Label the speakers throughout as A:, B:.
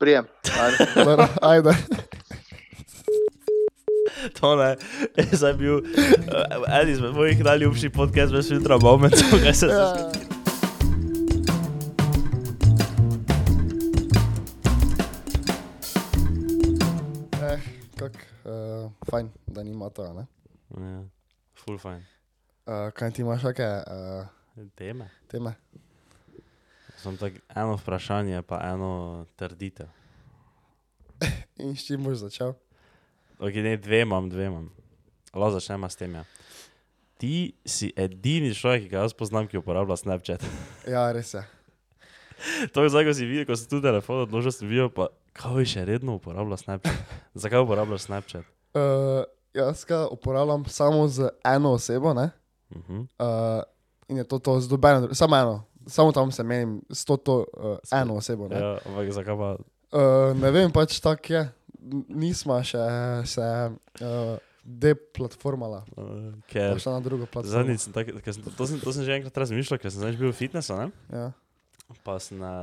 A: Prijem. Ajde.
B: Dobro, Ajde.
C: To ne, jaz sem bil eh, eden izmed mojih najljubših podcastov, veš, jutra bom med tem, kaj se zgodi.
B: Eh, kak, uh, fajn, da nima to, ne?
C: Ja, full fajn.
B: Uh, kaj ti imaš kakšne uh,
C: Teme.
B: teme?
C: Sem tak eno vprašanje, pa eno trditev.
B: In s čim boš začel?
C: Ok, ne, dve imam, dve imam. Lo začnemo s tem. Ja. Ti si edini človek, ki ga jaz poznam, ki uporablja Snapchat.
B: Ja, res je.
C: to je zdaj, ko si videl, ko si tu telefon odložil, sem videl, pa kako je še redno uporablja Snapchat. Zakaj uporabljaš Snapchat?
B: Uh, jaz ga uporabljam samo z eno osebo, ne?
C: Uh -huh.
B: Uh, in je to, to z dobeno, dru- samo eno. Samo tam se menim, s to, to uh,
C: Spe-
B: eno osebo. Ne, ja.
C: Ja, ampak zakaj pa?
B: uh, ne vem, pač tako je. N- Nisva še se uh, deplatformala,
C: Uh, ker
B: pač na drugo platformo.
C: Zadnjič sem tako, ker sem- to, to, sem- to sem že enkrat razmišljal, ker sem zadnjič bil v fitnesu, ne?
B: Ja.
C: pa sem na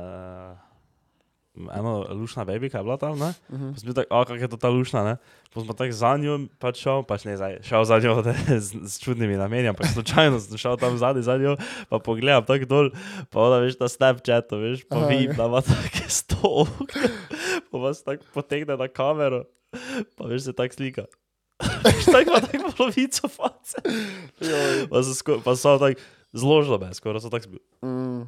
C: eno lušna bebika je bila tam, ne?
B: Uh -huh.
C: Pa sem bil tak, a kak je to ta lušna, ne? Pa sem pa tak za njo pač šel, pač ne, zdaj, šel za njo ne, z, z čudnimi nameni, ampak slučajno sem šel tam zadnji za njo, pa pogledam tako dol, pa ona veš ta Snapchat, veš, pa
B: Aha,
C: vidim,
B: ja.
C: da ima take sto okna, pa vas tako potegne na kamero, pa veš se tak slika. Veš, tako ima tako polovico face. Pa, so sko- pa so tako zložile, me, skoraj so tako. zbi-
B: Mm,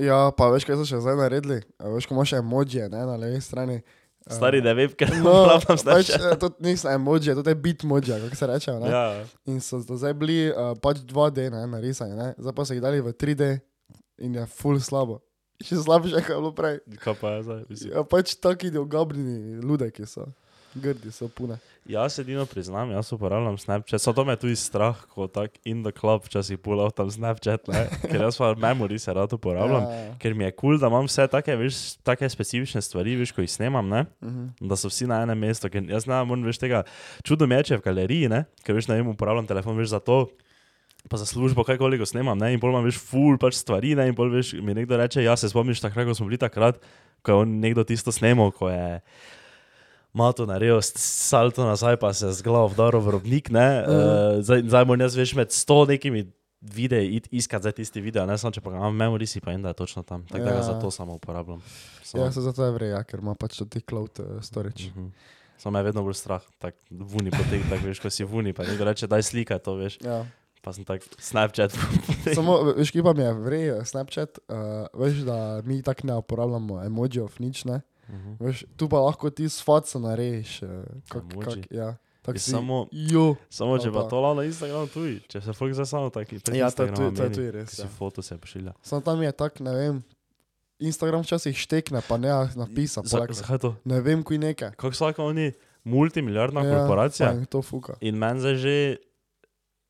B: ja, pa veš, kaj so še zdaj naredili? A Veš, ko imaš emojije ne, na levi strani. Eh,
C: Stari, ne vem, ker
B: No,
C: no, pravim
B: pač,
C: starše.
B: eh, to niso emojije, to je bitmojija, kako se reče. Ja.
C: Ja,
B: In so do zdaj bili uh, pač 2D ne, narisani, ne? zdaj pa so jih dali v 3D in je full slabo. Še slabše, kot je bilo prej.
C: kaj pa je zdaj? Mislim.
B: Ja, pač taki dolgobrini ludeki so, grdi so pune.
C: Jaz edino priznam, jaz uporabljam Snapchat, so to me tudi strah, ko tako in the club, če si pulal tam Snapchat, ne? ker jaz pa memory se rad uporabljam.
B: Ja,
C: Ker mi je kul, cool, da imam vse take, veš, take specifične stvari, veš, ko jih snemam, ne?
B: mhm.
C: da so vsi na enem mestu. Ker jaz ne morem več tega, čudno mi je, če je v galeriji, ne? ker veš, ne vem, uporabljam telefon, veš za to. Pa za službo, kaj koliko snemam, ne? in pol imam več ful pač stvari, ne? in pol veš, mi nekdo reče, ja se spomniš takrat, ko smo bili takrat, ko je on nekdo tisto snemal, ko je Mato naredil s- salto nazaj, pa se je z glavo vdaril v robnik, ne, uh, zdaj, zdaj moram jaz veš med sto nekimi videi iti iskat za tisti video, ne, samo če pa ga imam v memory, si pa vem, da je točno tam, tako da ga
B: Ja.
C: za to samo uporabljam. Samo-
B: ja, se zato je vreja, ker ima pač ti cloud uh, storage.
C: Mhm. Samo me je vedno bolj strah, tako vuni potek, tako veš, ko si vuni, pa nekdo reče, daj slika to, veš,
B: Ja.
C: pa sem tak Snapchat.
B: Samo, ve- veš, ki pa mi je vrej, Snapchat, uh, veš, da mi tako ne uporabljamo emojijev, nič ne.
C: Mhm.
B: Veš, tu pa lahko ti s facem narežeš. eh, kak-
C: Emoji.
B: kak- Ja, tako
C: Je
B: si.
C: samo-
B: Jo.
C: Samo če
B: Ali
C: pa
B: pa-
C: to lava na Instagramu tuji, če se folk zdaj samo taki prek
B: Ja, to je
C: Instagrama
B: tudi- to je
C: meni,
B: tudi res,
C: ki si
B: ja.
C: foto se pošilja.
B: Sam tam je tak, ne vem. Instagram včasih štekne, pa ne napisa.
C: Za-
B: poleg-
C: Zakaj to?
B: Ne vem, kuj nekaj.
C: Kako vsaka oni multimilijardna
B: Ja, pa
C: korporacija
B: jim To fuka.
C: in meni zdaj že,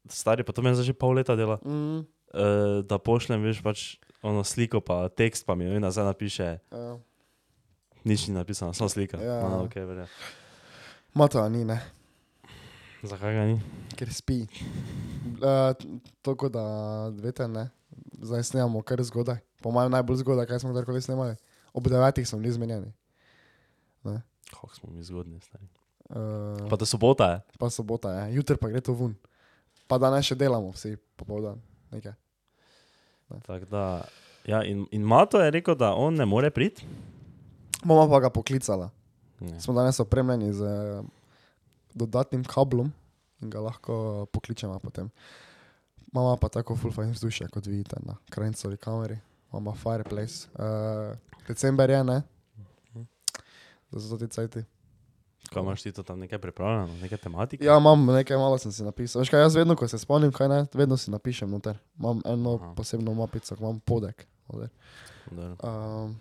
C: stari pa to meni zdaj že pol leta dela,
B: Mm,
C: eh, da pošljem, veš, pač ono sliko pa tekst pa mi jo nazaj napiše,
B: ja.
C: nič ni napisano, samo slika.
B: Ja.
C: Ja, ok, verja.
B: Mato a ni, ne,
C: Zakaj ga ni?
B: ker spi. Uh, Tako da, veste, ne. Zdaj snemamo kar zgodaj. Po mojem najbolj zgodaj, kaj smo kdorkoli snemali. Ob devetih smo bili zmenjeni.
C: Kako smo mi zgodni, stari.
B: Uh,
C: Pa to sobota eh. je.
B: pa sobota je, jutri pa gre to ven. Pa danes še delamo, vsi popoldan. Nekaj.
C: Tak Da, ja, in, in Mato je rekel, da on ne more priti.
B: Mama pa ga poklicala.
C: Ne.
B: Smo danes opremljeni z eh, dodatnim kablom in ga lahko eh, pokličemo potem. Mama pa tako full fajn vzdušje, kot vidite na krajnicovi kameri. Mama fireplace. Uh, december je, ne? Zato ti cajti.
C: Kaj imaš ti to tam nekaj pripravljeno, neke tematike?
B: Ja, imam nekaj, malo sem si napisal. Veš kaj, jaz vedno, ko se spomnim, kaj ne, vedno si napišem noter. Imam eno
C: Aha.
B: posebno mapico, ko imam podek. noter.
C: Dobro,
B: Um,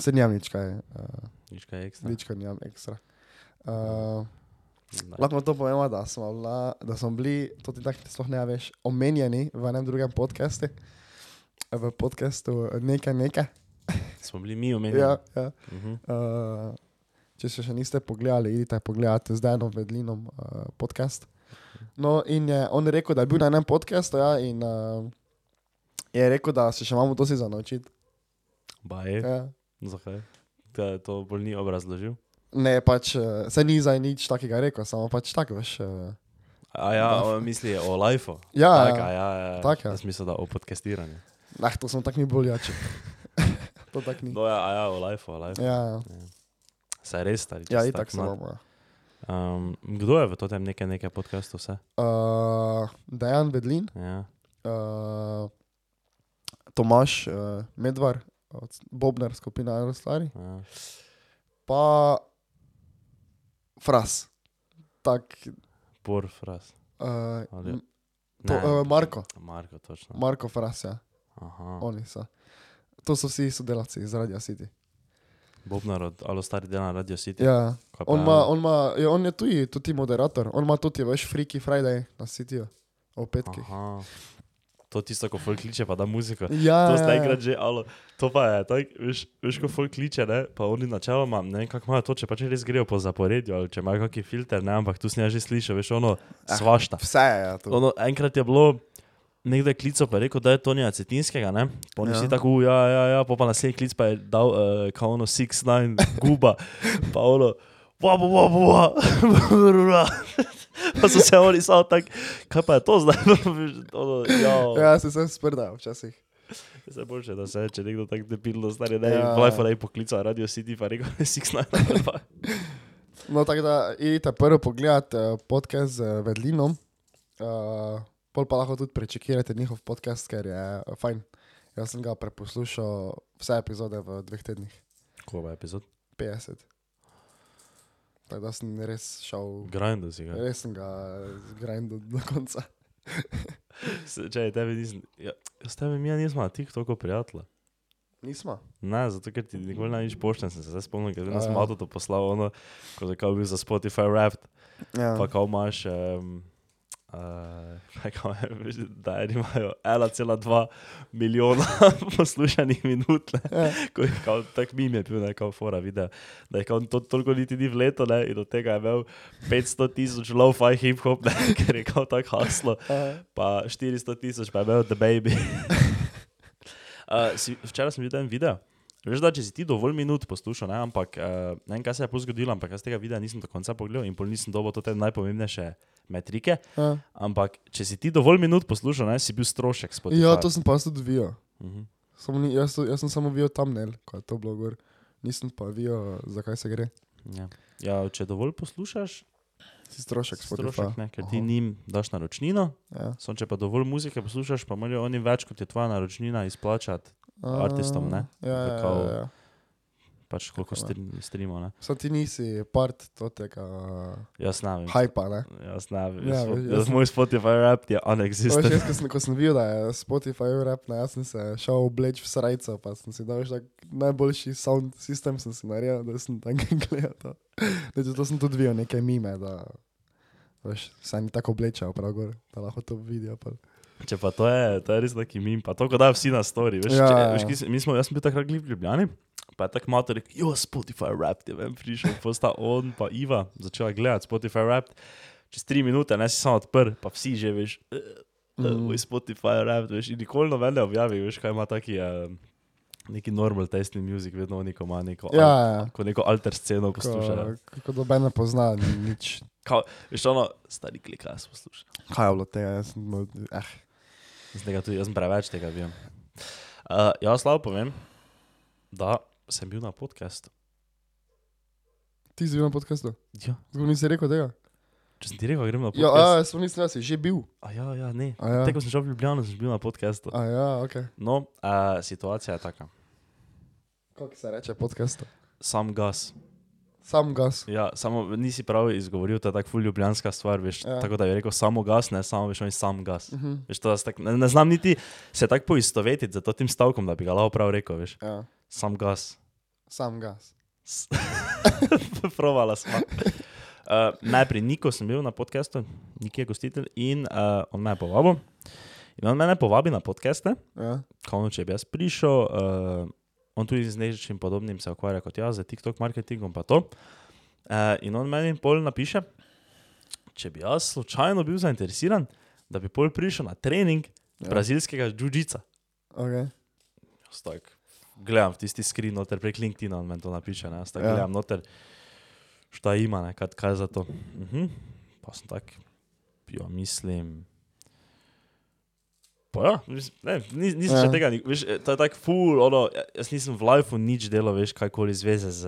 B: se nijam nič kaj, uh,
C: nič kaj ekstra.
B: nič kaj nijam ekstra. Uh,
C: Daj.
B: Lahko to povemo, da smo, bila, da smo bili, to ti tako sploh ne veš, omenjeni v enem drugem podkastu, v podkastu nekaj, nekaj.
C: Smo bili mi omenjeni.
B: Ja, ja.
C: Mhm.
B: Uh, če se še niste pogledali, idite pogledati z Danom Vedlinom uh, podcast. No, in je on rekel, da je bil na enem podkastu ja, in uh, je rekel, da se še imamo dosti za naučiti.
C: Baje,
B: Ja.
C: zakaj? To, to bolj ni obrazložil.
B: Ne, pač eh, se ni zdaj nič takega rekel, samo pač tako veš. eh,
C: A ja,
B: Da.
C: o, misli je o lifeu.
B: Ja,
C: tak,
B: ja.
C: a ja, ja.
B: Tako, ja.
C: Jaz mislim, da o podcastiranju.
B: Ah, to sem tak ni bolj jače. to tak ni.
C: No, ja, a ja, o lifeu, o lifeu.
B: Ja,
C: Saj res stari.
B: ja, ja
C: čisto
B: itak se
C: mlad.
B: bomo.
C: Um, kdo je v tem nekaj, nekaj podcastu vse?
B: Uh, Dejan Bedlin,
C: Ja.
B: uh, Tomaš uh, Medvar, od s- Bobnar, skupina Aerostari,
C: ja.
B: pa Fras. Tak,
C: Porfras.
B: uh,
C: Ali-
B: m- To, eh, Marko.
C: Marko, točno.
B: Marko Fras, ja,
C: Aha.
B: oni so. To so vsi sodelavci iz Radia City.
C: Bobnar od Alo Stari del na Radio City.
B: Ja,
C: Kaj pa
B: on,
C: je
B: ma, on, ma, je, on je tudi, tudi moderator, on ima tudi več Freaky Friday na Cityju, o petkih.
C: Aha. To tisto, ko folk kliče, pa da muziko.
B: Ja,
C: To
B: ja,
C: zdaj
B: ja.
C: igra že, alo. To pa je, tak, veš, veš, ko folk kliče, ne, pa oni načeloma, ne vem, kako imajo to, če pač res grejo po zaporedju ali če imajo kakšen filter, ne, ampak tu sem jaz že slišal, veš, ono, svašta.
B: Vse je ja, to.
C: Ono, enkrat je bilo, nekdo je klical, pa je rekel, da je Tonija Cetinskega, ne? Pa oni
B: Ja.
C: ja. si tako, "U, ja, ja, ja, pa, pa naslednji klic pa je dal, uh, kao ono, 6-9, guba, pa ono, wa, wa, wa, wa, wa, pa so se oni samo tako, kaj pa je to zdaj, ono, ja,
B: Ja, se sem sprda včasih.
C: se boljše, da se, če nekdo tako debilno stari, da je
B: Ja.
C: ja. Wi-Fi, da je poklical Radio City, pa rekel, 6-9, ali pa,
B: No, tako da idite prvo pogledat eh, podcast z Vedlinom, uh, pol pa lahko tudi prečekirate njihov podcast, ker je eh, fajn. Jaz sem ga preposlušal vse epizode v dveh tednih,
C: koga je epizod?
B: 50. Tako da sem res šel,
C: Grindo si ga.
B: res sem ga zgrajil do konca.
C: Se- Čakaj, tebi nisem, ja, s tebi mi ja nismo na TikToku prijatelja.
B: Nismo.
C: Ne, zato ker ti nikoli ne nič pošten, sem se zdaj spomnil, ker vedno sem
B: Aja.
C: avto to poslal, ono, ko je kao bil za Spotify Wrapped,
B: Ja.
C: pa kao imaš, um, uh, kao, je, veš, da eni imajo 1,2 milijona poslušanih minut, ne,
B: Ja.
C: ko je kao, tak mim je bil, ne, kao fora video, da je kao to toliko niti ni v leto, ne, in od tega je imel 500 tisoč low-fi hip-hop, ne, ker je kao tak haslo,
B: Eh,
C: pa 400 tisoč, pa je imel The Baby. uh, si, včeraj sem videl en video. Veš, da če si ti dovolj minut poslušal, ne, ampak uh, ne vem, kaj se je pol zgodilo, ampak jaz tega videa nisem do konca pogledal in pol nisem dobil to te najpomembnejše metrike.
B: ja.
C: Ampak če si ti dovolj minut poslušal, ne, si bil strošek Spotify.
B: ja, to sem pa jaz tudi videl.
C: Mhm.
B: Samo ni- Jaz, jaz sem samo videl tam ne, ko je to bilo gor. Nisem pa videl, zakaj se gre.
C: Ja. ja, če dovolj poslušaš,
B: Si strošek Spotify.
C: strošek, ne, ker ti
B: Aha.
C: njim daš naročnino,
B: Ja.
C: samo če pa dovolj muzike poslušaš, pa morajo oni več kot je tvoja naročnina izplačati, Artistom, ne?
B: A, Ja, ja,
C: Kao-
B: ja, ja.
C: pač koliko
B: Tako,
C: stream, streamo. ne.
B: Sam ti nisi part tega
C: Jaz ne vem.
B: hajpa, ne?
C: Jaz ne vem,
B: Ja,
C: jaz,
B: veš,
C: jaz,
B: jaz
C: jaz
B: sem-
C: moj Spotify rap je
B: Veš,
C: unexistent.
B: jaz, ko sem, ko sem videl, da je Spotify rap, ne, jaz sem se šel obleč v srajco, pa sem si dal tak, najboljši sound system, sem si naredil, da sem tam gledal. to. Da, zato sem tudi videl neke mime, da veš, se mi tako oblečajo, prav gor, da lahko to vidijo. Pa.
C: Če pa to je, to je res neki mim, pa to, ko dajo vsi na story. Veš,
B: Ja,
C: ja, če,
B: ja.
C: veš, ki, se- mi smo, jaz sem bil takrat glib v Ljubljani, pa je tako mater rekel, jo, Spotify rap, ti vem, prišel, posta on, pa Iva, začela gledati Spotify rap. Čez tri minute, ne si samo odprl, pa vsi že veš, "Eh,
B: Mm.
C: moj Spotify rap, veš, in nikoli noben ne objavi, veš, kaj ima taki eh, neki normal tesni muzik, vedno oni, ko ima neko,
B: Ja,
C: al,
B: ja.
C: ko neko alter sceno poslušajo.
B: Ko, ko doben ne pozna nič.
C: Veš, ono, stari klikas posluša.
B: Kaj je bilo tega? Jaz sem, no, eh.
C: Jaz, tega tudi, jaz sem preveč tega bil. Uh, jaz slabo povem, da sem bil na podkastu.
B: Ti si bil na podkastu?
C: Ja.
B: Zgoraj nisi rekel tega.
C: Če sem ti rekel, grem na
B: Ja,
C: podcast.
B: a, sem mislil, da si že bil.
C: A ja, ja, ne.
B: A ja.
C: Teko sem šel v Ljubljano, sem bil na podkastu.
B: A ja, ok.
C: No, uh, situacija je taka.
B: Kako se reče podcastu?
C: Sam gas.
B: Sam gas.
C: Ja, samo nisi prav izgovoril, to je tako ful ljubljanska stvar, veš.
B: Ja.
C: Ja. Tako da je rekel samo gas, ne samo veš, on je sam gas.
B: Mhm.
C: Veš, to, jaz tak, ne, ne znam niti se tako poistovetiti za to tim stavkom, da bi ga lahko prav rekel, veš.
B: Ja,
C: Sam gas.
B: sam gas.
C: S- Provala smo. Uh, najprej Niko sem bil na podkastu, Nik je gostitelj in uh, on me je povabil. In on mene povabi na podkaste,
B: Ja.
C: kot če bi jaz prišel. Uh, on tudi z nečim podobnim se ukvarja kot jaz, z TikTok marketingom pa to. Uh, in on meni pol napiše, če bi jaz slučajno bil zainteresiran, da bi pol prišel na trening
B: Ja.
C: brazilskega džudžica.
B: Okay.
C: Jaz tako, gledam v tisti skrin noter, prek LinkedIn on meni to napiše, ne, jaz tako
B: Ja.
C: ja. gledam noter, šta ima, ne, kad, kaj za to. Mhm. Pa sem tak, jo mislim. Pa ja, mislim, ne, nis, nisem ja.
B: Ja.
C: še tega, ni- veš, eh, to je tako full, ono, ja- jaz nisem v lifeu nič delal, veš, kajkoli zveze z...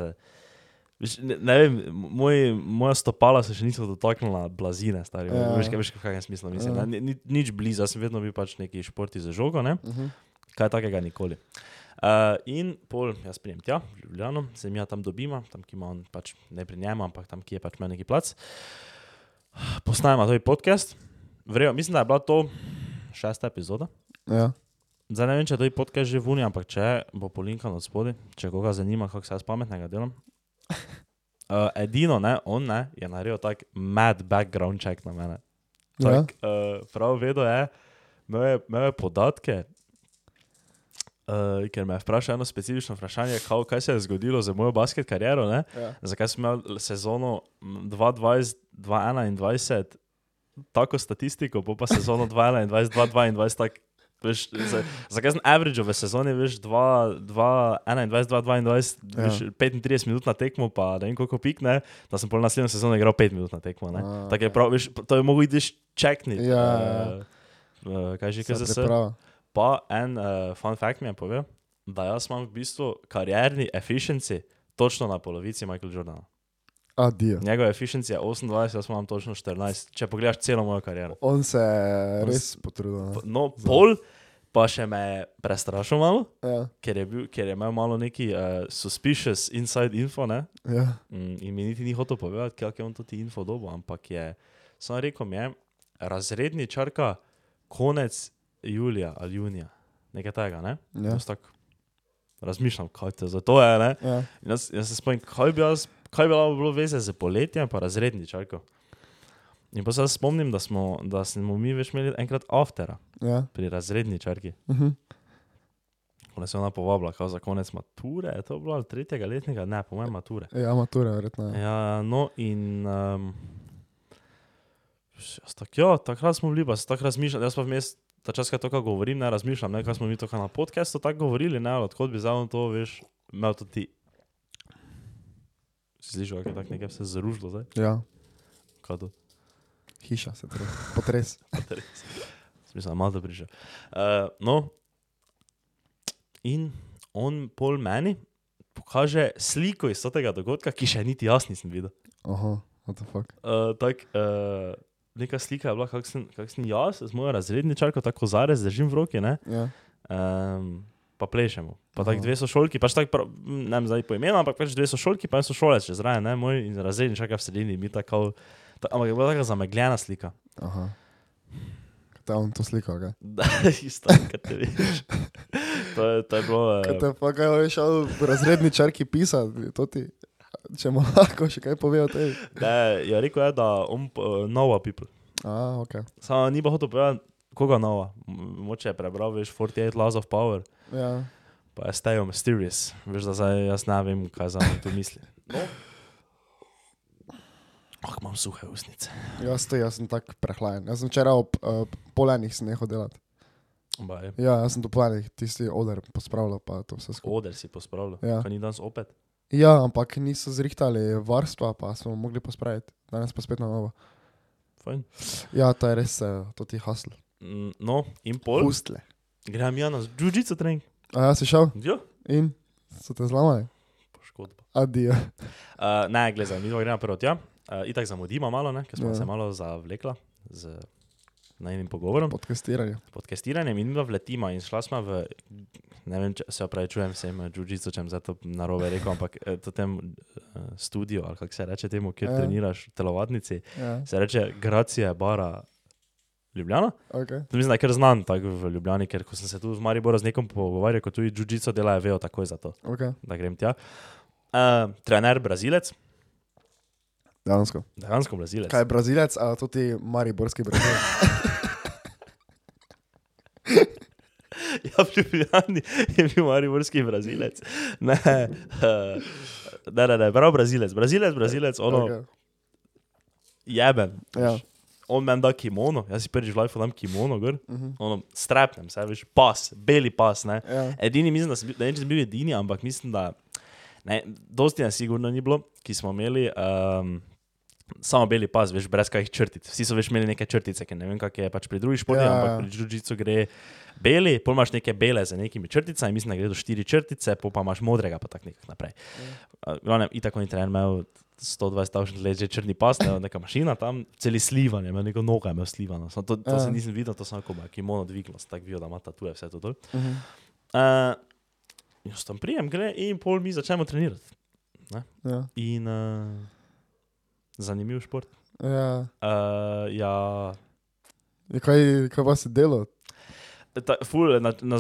C: Veš, ne, ne vem, moj, moja stopala se še niso dotaknila blazine, stari,
B: Ja.
C: ja. veš, kaj, veš, kaj je smisel, mislim,
B: Ja.
C: ja. ni, nič blizu, jaz sem vedno bil pač neki športi za žogo, ne?
B: Mhm.
C: kaj takega nikoli. Uh, in pol, jaz prijem tja, v Ljubljano, se mi ja tam dobima, tam ki ima on pač ne pri njem, ampak tam ki je pač meni neki plac. Posnajemo to podcast, vrejo, mislim, da je bila to šesta epizoda.
B: Ja.
C: Zdaj ne vem, če je to je podcast že vunja, ampak če bo polinkan od spodaj, če koga zanima, kako se jaz pametnega delam. Uh, edino, ne, on ne, je naredil tak mad background check na mene.
B: Ja.
C: Tak, uh, prav vedo je, imel je, imel je podatke, uh, ker me je vprašal eno specifično vprašanje, kao, kaj se je zgodilo z mojo basket kariero, ne?
B: Ja.
C: zakaj sem imel sezono 2020-2021 tako statistiko, pol pa sezono 2021-2022 tak. Veš, za, zakaj sem average v sezoni, veš,
B: Ja.
C: 2021-2022, ja. 35 minut na tekmo, pa ne vem koliko pikne, da sem pol naslednjo sezono igral 5 minut na tekmo. ne.
B: A,
C: Tako je
B: ok.
C: prav, veš, to je mogoče ideš čekniti.
B: Ja, ja,
C: Uh, kaj že,
B: Se
C: kaj se se.
B: priprava.
C: Pa en uh, fun fact mi je povedal, da jaz imam v bistvu karierni efficiency točno na polovici Michael Jordana.
B: Adijo.
C: Njegov efficiency je 28, jaz imam točno 14, če pogledaš celo mojo kariero.
B: On se je
C: On
B: res potrudil. ne.
C: P- No, pol pa še me je prestrašil malo,
B: Ja.
C: ker je, bil, ker je imel malo neki uh, suspicious inside info, ne?
B: Ja.
C: Mm, In mi niti ni hotel povedati, kako je on to ti info dobo, ampak je, sem rekel, mi je razredni črka konec julija ali junija, nekaj tega, ne?
B: Ja.
C: Jaz tako razmišljam, kaj te za to je, ne?
B: Ja.
C: In Jaz, jaz se spomnim, kaj bi, jaz, kaj bi lahko bilo veze z poletjem, pa razredni črko. In pa se jaz spomnim, da smo, da smo mi več imeli enkrat aftera
B: Ja.
C: pri razredni črki.
B: Mhm.
C: Ko nas je ona povabila, kao za konec mature, je to bilo ali tretjega letnega, ne, po mojem mature.
B: Ja, matura, verjetno. Ja.
C: Ja, no in. Um, jaz tak, jo, takrat smo bili, pa se tako razmišljali, jaz pa vmes, ta čas, kaj to kaj govorim, ne razmišljam, ne, kaj smo mi to na podkastu tako govorili, ne, ali odkot bi zdaj to, veš, imel to ti. Si slišal, kako je tako nekaj se zružilo zdaj?
B: ja.
C: Kaj to?
B: Hiša se trese. Potres.
C: Smisel, malo da prišel. Uh, no, in on pol meni pokaže sliko iz tega dogodka, ki še niti jaz nisem videl.
B: Aha, what the fuck.
C: Uh, tak, uh, neka slika je bila, kak sem, kak sem jaz, z mojo razredničarko, tako zarez, držim v roki, ne?
B: Ja.
C: Um, pa plešemo. Pa
B: Aha.
C: tako dve sošolki, pač tako, prav- m, ne vem zdaj po imenu, ampak pač dve sošolki, pa en sošolec še zraven, ne, moj in razredničarka v sredini, mi tako, ta, ampak je bila taka zamegljena slika.
B: Aha. Kaj je on to slikal, kaj?
C: Da, ista, kaj te vidiš. To je, to je bilo...
B: Kaj
C: Uh,
B: te pa kaj je šel v razredni črki pisati, to ti. Če mu lahko še kaj pove o tebi.
C: ne, ja, rekel je, da on uh, nova people.
B: A, ok.
C: Samo ni pa hotel povedati, koga nova. M- Moče je prebral, veš, 48 Laws of Power.
B: Ja.
C: Pa jaz stajem mysterious, veš, da zdaj jaz ne vem, kaj za me tu misli. No. Oh, imam suhe usnice.
B: Jaz, to, jaz sem tako prehlajen. Jaz sem včeraj ob uh, polenih sem nehal delati.
C: Ba, je.
B: Ja, jaz sem do polenih tisti oder pospravljal, pa to vse skupaj.
C: Oder si pospravljal,
B: Ja.
C: ja. kaj ni danes opet.
B: Ja, ampak niso zrihtali varstva, pa smo mogli pospraviti. Danes pa spet na novo.
C: Fajn.
B: Ja, to je res, uh, to ti hasl.
C: Mm, No, in pol.
B: Pustle.
C: Grem ja na džužico trening.
B: A ja, si šel
C: Ja,
B: in so te zlamali.
C: poškodba.
B: Adijo.
C: Uh, ne, gledaj, mi gremo prvo tja. Uh, itak zamudimo malo, ne, ker smo
B: Ja.
C: ja. se malo zavlekla z najnim pogovorom.
B: Podcastiranje.
C: podcastiranjem in midva vletima in šla sva v, ne vem, če se opravičujem vsem eh, džužicočem, za to narobe rekel, ampak eh, to tem eh, studio, ali kako se reče temu, kjer
B: Ja.
C: ja. treniraš v telovadnici,
B: Ja,
C: se reče Gracija Bara Ljubljana.
B: ok.
C: To mislim, da je kar znan tako v Ljubljani, ker ko sem se tu v Mariboru z nekom pogovarjal, ko tudi džužico delajo, vejo takoj za to,
B: okay.
C: da grem tja. Uh, trener Brazilec,
B: Dansko.
C: dejansko Brazilec.
B: Kaj je brazilec, a to ti mariborski brazilec.
C: Ja, v Ljubljani je bil mariborski brazilec. Ne, uh, ne, ne, ne prav brazilec. Brazilec, brazilec, ono okay.
B: Okay.
C: jeben.
B: Ja.
C: on meni da kimono, jaz si prvič v lifeu dam kimono, gor, uh -huh. ono, strepnem, se veš, pas, beli pas, ne.
B: Ja.
C: Edini, E, mislim, da sem bil, ne vem, če sem bil edini, ampak mislim, da ne, dosti nas sigurno ni bilo, ki smo imeli um, samo beli pas, veš, brez kakih črtic. Vsi so veš imeli neke črtice, ki ne vem, kak je pač pri drugih športih,
B: Ja,
C: ja,
B: ja.
C: ampak pri džudžicu gre beli, pol imaš neke bele z nekimi črticami, mislim, da gre do štiri črtice, pol pa imaš modrega, pa tako nekako naprej.
B: Ja.
C: Uh, Glavnem, itak on je trener imel 120 tavšnih let, že črni pas, ne, neka mašina tam, celi slivan, je imel neko noga, je imel slivano. Samo To, to
B: Ja.
C: se nisem videl, to sem kot kimono dvignil, sem tako videl, da ima tatuje vse to dol.
B: Mhm.
C: Uh, jaz tam prijem, gre in pol mi začnemo trenirati.
B: Ja.
C: In uh, zanimiv šport.
B: Ja.
C: Uh, ja,
B: Ja, Kaj, kaj pa si delal?
C: ta, ful, na, na,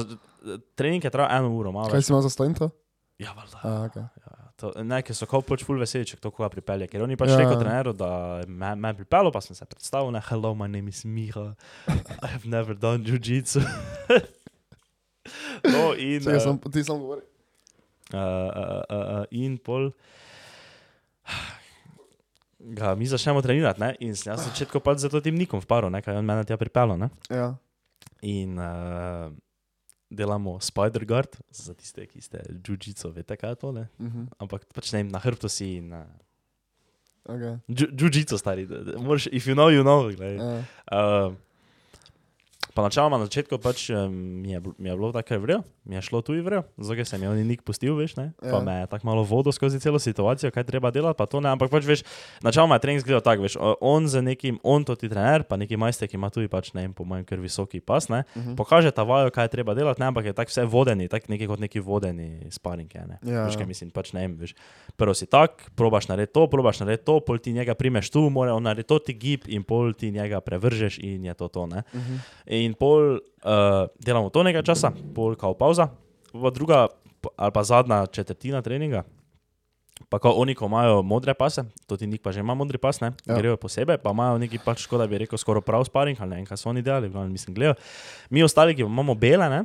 C: trening je trajal eno uro, malo.
B: Kaj si imel za stojnto?
C: Ja, valjda.
B: A, okay.
C: To, ne, ker so kot pač ful veseli, če kdo koga pripelje. Ker oni pač
B: Ja.
C: ja. rekel treneru, da me, me pripeljo, pa sem se predstavil, ne, hello, my name is Miha, I've never done jiu-jitsu. no, in...
B: Čekaj,
C: eh,
B: sem, ti sam govori.
C: Uh, uh, uh, uh, in pol. Ga, mi začnemo trenirati, ne? in sem jaz na začetku pač za to tim nikom vparo, ne? kaj je on mene tja pripeljal. ne.
B: Ja.
C: In uh, delamo Spider Guard, za tiste, ki ste džudžico, veste kaj je to, ne?
B: Mhm.
C: ampak pač ne vem, na hrbtu si in uh,
B: Okay.
C: džudžico stari, da- da moraš, if you know, you know. Glej.
B: Ja.
C: Uh, pa načeloma na začetku pač, eh, mi, je, bil- mi je bilo tako vrelo, mi je šlo tu in vrelo, zdaj sem jim nik pustil, veš, ne?
B: Ja.
C: pa me je tako malo vodo skozi celo situacijo, kaj treba delati, pa to ne, ampak pač veš, načeloma je trening zgledal tako, veš, o- on za nekim, on to ti trener, pa neki majster, ki ima tudi pač, ne vem, po mojem, ker visoki pas, ne,
B: Mhm.
C: pokaže ta vajo, kaj je treba delati, ne, ampak je tako vse vodeni, tako neki kot neki vodeni sparinke, ne.
B: Ja,
C: Veš,
B: ja.
C: kaj mislim, pač ne vem. Veš. Prvo si tak, probaš narediti to, probaš narediti to, pol ti njega primeš tu, mora on narediti to, ti gib in pol ti njega prevržeš in je to to. Ne?
B: Mhm.
C: In pol uh, delamo to nekaj časa, pol kao pauza, v druga p- ali pa zadnja četrtina treninga. Pa ko oni, ko imajo modre pase, to ti nik pa že ima modri pas, ne,
B: Ja.
C: ja. grejo posebej, pa imajo neki pač, kot da bi rekel, skoraj prav sparing, ali ne vem, kaj so oni delali, v glavnem, mislim, gledajo. Mi ostali, ki pa imamo bele, ne,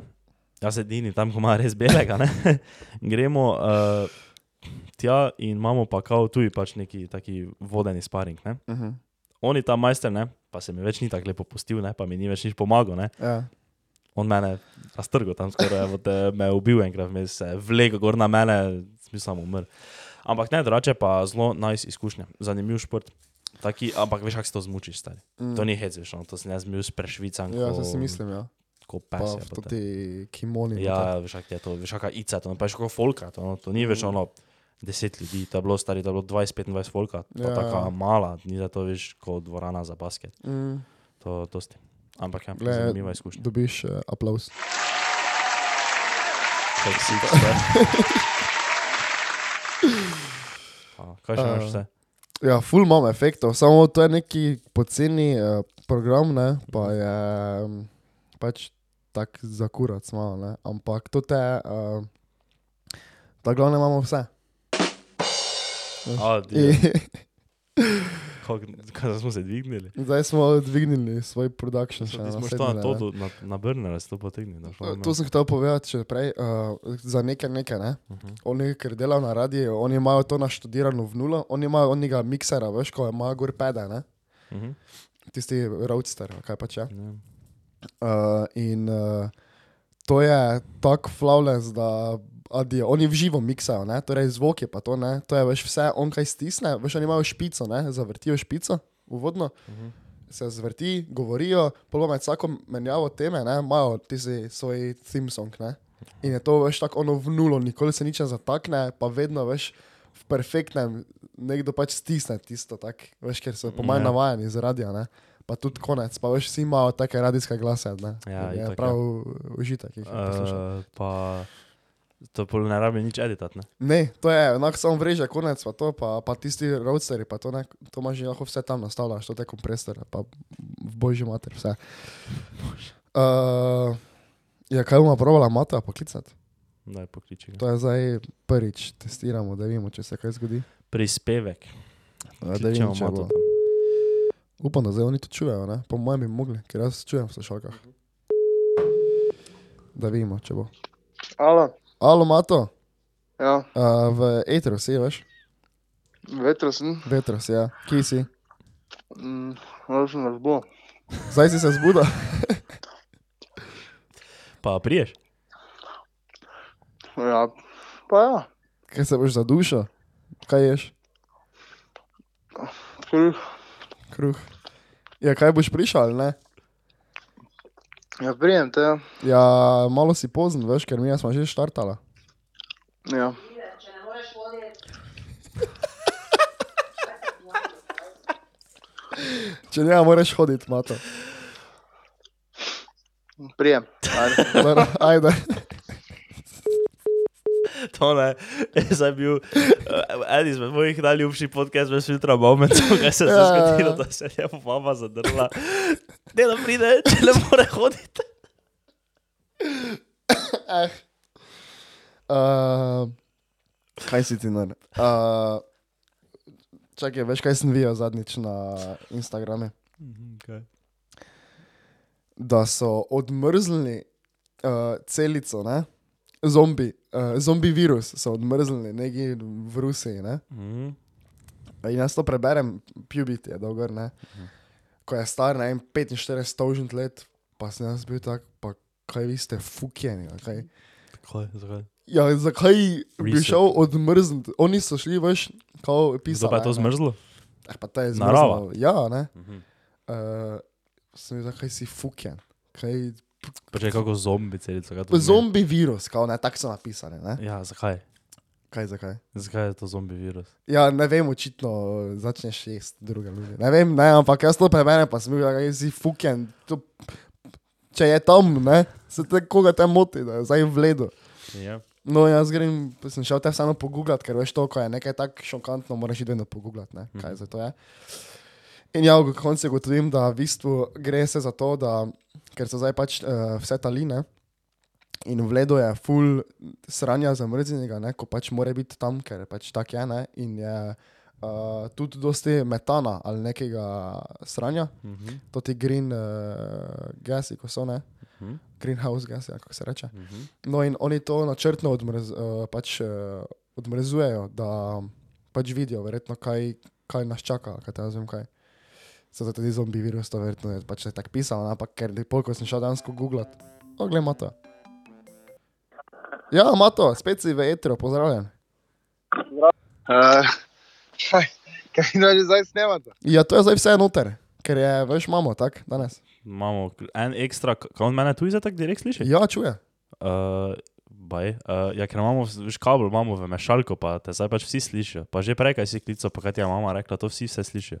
C: jaz edini tam, ko ima res belega, ne, gremo uh, tja in imamo pa kao tuji pač neki taki vodeni sparing, ne.
B: Mhm.
C: Oni tam majster, ne, pa se mi več ni tako lepo pustil, ne, pa mi ni več nič pomagal, ne.
B: Ja.
C: On mene raztrgal tam skoraj, evo, da me je ubil enkrat, me se je vlekel gor na mene, smisel mu umrl. Ampak ne, drugače pa zelo najs nice izkušnja, zanimiv šport. Taki, ampak veš, kako se to zmučiš, stari.
B: Mm.
C: To ni hec, veš, no, to sem jaz bil s prešvicam,
B: Ja,
C: ko,
B: to si mislim, ja.
C: ko
B: Pa
C: pes. je,
B: to
C: potem.
B: ti kimoni. no,
C: Ja, veš, kak je to, veš, kakšna ica, to ne pa je še kako folka, to, no, to ni
B: Mhm.
C: več ono deset ljudi, to je bilo stari, to je bilo 20-25 folka, pa
B: Ja,
C: ja.
B: ja.
C: taka mala, ni da to veš kot dvorana za basket,
B: Mm.
C: to dosti. Ampak ja,
B: Glej,
C: zanimiva izkušnja.
B: Dobiš uh, aplaus.
C: Fake seat stvar. A, Kaj še imaš
B: Eh,
C: vse?
B: Ja, full imam efektov, samo to je neki poceni uh, program, ne, pa je um, pač tak za kurac malo, ne. Ampak to te, uh, ta glavne imamo vse.
C: A,
B: In,
C: di, kako kako smo se dvignili?
B: zdaj smo dvignili svoj production. še
C: Ti smo
B: naslednje,
C: šli na to,
B: ne.
C: do- no. na, na Brnera, se to potegnili. da šlo
B: To-
C: na-
B: To sem hotel povedati še prej, uh, za nekaj, nekaj, ne.
C: Mhm.
B: Oni, ker delajo na radiju, oni imajo to naštudirano v nulo, oni imajo onega miksera, veš, ko ima gor pede, ne?
C: Mhm.
B: tisti roadster, ali kaj pač je.
C: Ja.
B: Uh, in uh, to je tako flawless, da adijo. oni v živo miksajo, ne? torej zvok je pa to, ne? to je veš, vse on kaj stisne, veš, oni imajo špico, ne? zavrtijo špico, uvodno.
C: Mhm.
B: Se zvrti, govorijo, polo med vsako menjavo teme, ne, imajo tisti svoj theme song. Ne. In je to veš tako ono v nulo, nikoli se nič ne zatakne, pa vedno veš v perfektnem, nekdo pač stisne tisto, tak, veš, ker so po mojem
C: Ja.
B: navajeni z radia. Ne. Pa tudi konec, pa veš, vsi imajo take radijske glase. Ne.
C: Ja,
B: je
C: itak, ja.
B: prav užitek. jih je poslušati.
C: Eh, Pa to pol ne rabi nič editati. ne?
B: Ne, to je enako samo vreže, konec pa to, pa, pa tisti roadsteri, pa to, ne, to imaš že lahko vse tam nastavljaš, to te kompresore, pa v božji mater vse. Uh, ja, kaj bomo provala Mata poklicati?
C: Daj pokliči. ga.
B: To je zdaj prvič, testiramo, da vidimo, če se kaj zgodi.
C: Prispevek.
B: Ja, Da
C: Kličemo
B: vidimo, če
C: Mato
B: bo.
C: tam.
B: Upam, da zdaj oni to čujejo, ne? po mojem bi mogli, ker jaz čujem v slušalkah. Da vidimo, če bo.
A: Alo,
B: Alo Mato,
A: ja,
B: uh, v Eteru si, veš?
A: vetro sem,
B: Vetro si, ja. Kje si?
A: mm, ali sem nas bo.
B: Zdaj si se zbudil.
C: Pa priješ.
A: Ja, pa ja,
B: Kaj se boš zadušil? Kaj ješ?
A: kruh.
B: Kruh. Ja, kaj boš prišel, ali ne?
A: Ja, prijem te. ja.
B: Ja, malo si pozen, veš, ker mi smo že štartala.
A: Ja.
D: Če ne moreš voditi,
B: Če ne, ja, moraš hoditi, mato.
A: Prijem. Ajde.
B: Dobro, Ajde.
C: To ne, jaz sem bil eh, eden izmed mojih najljubših podcastov, veš, jutra moment, kaj se je
B: Ja, ja, ja.
C: zgodilo, da se je mama zadrla. Ne, da pride, če ne more hoditi.
B: Eh. Uh, kaj si ti nar? Uh, čakaj, veš, kaj sem videl zadnjič na Instagramu?
C: Mm,
B: Da so odmrznili uh, celico, ne? Zombi, uh, zombi virus so odmrznili, nekje v Rusiji. Ne?
C: Mhm.
B: In jaz to preberem, pubiti je dolgor, ne. Ko je star, ne vem, 45 tožnih let, pa sem jaz bil tak, pa kaj vi ste fukjeni, ali kaj.
C: Tako je, zakaj?
B: Ja, zakaj bi
C: Reset.
B: šel odmrzniti? Oni so šli, veš, kao
C: Kdo
B: pisati.
C: pa je to zmrzlo?
B: Eh, pa ta je
C: Narava.
B: zmrzlo. Ja, ne.
C: Mhm.
B: Uh, sem bil, zakaj si fukjen. Kaj,
C: Pa če je kako zombi celica. kaj to pomeni?
B: zombi virus, kao ne, tako so napisali, ne.
C: Ja, zakaj?
B: Kaj, zakaj?
C: Zakaj je to zombi virus?
B: Ja, ne vem, očitno eh, začneš šest, druga ljudi. Ne vem, ne, ampak jaz to preberem, pa sem bil, da si fuken. To, če je tam, ne, se te koga te moti, da je zdaj v ledu.
C: Ja.
B: No, jaz grem, pa sem šel te vseeno pogooglati, ker veš to, ko je nekaj tako šokantno, moraš iti vedno pogooglati, ne,
C: Mhm.
B: kaj za to je. In ja, v koncu ugotovim, da v bistvu gre se za to, da, ker so zdaj pač uh, vse taline in v ledu je full sranja zamrznjenega, ne, ko pač mora biti tam, ker pač tak je, ne, in je uh, tudi dosti metana ali nekega sranja,
C: Mhm.
B: to ti green uh, gasi, ko so ne,
C: Mhm.
B: greenhouse gasi, ali kako se reče.
C: Mhm.
B: No, in oni to načrtno odmrz, uh, pač, uh, odmrzujejo, da pač vidijo, verjetno, kaj, kaj nas čaka, kaj te razumem. Kaj. Zato tudi zombi virus, to verjetno je pač tako pisalo, ne, ampak ker lepo, ko sem šel dansko googlat, oglej, Mato. Ja, Mato, spet si v etru, pozdravljen.
A: Uh, kaj, kaj naj zdaj snemate?
B: Ja, to je zdaj vse noter, ker je, veš, imamo tak danes.
C: Imamo k- en ekstra, kaj on mene tu iza tako direkt sliši?
B: Ja, čuje.
C: Uh, baj, uh, ja, ker imamo, veš, kabel imamo v mešalko, pa te zdaj pač vsi slišijo. Pa že prej, kaj si klical, pa kaj ti je mama rekla, to vsi vse slišijo.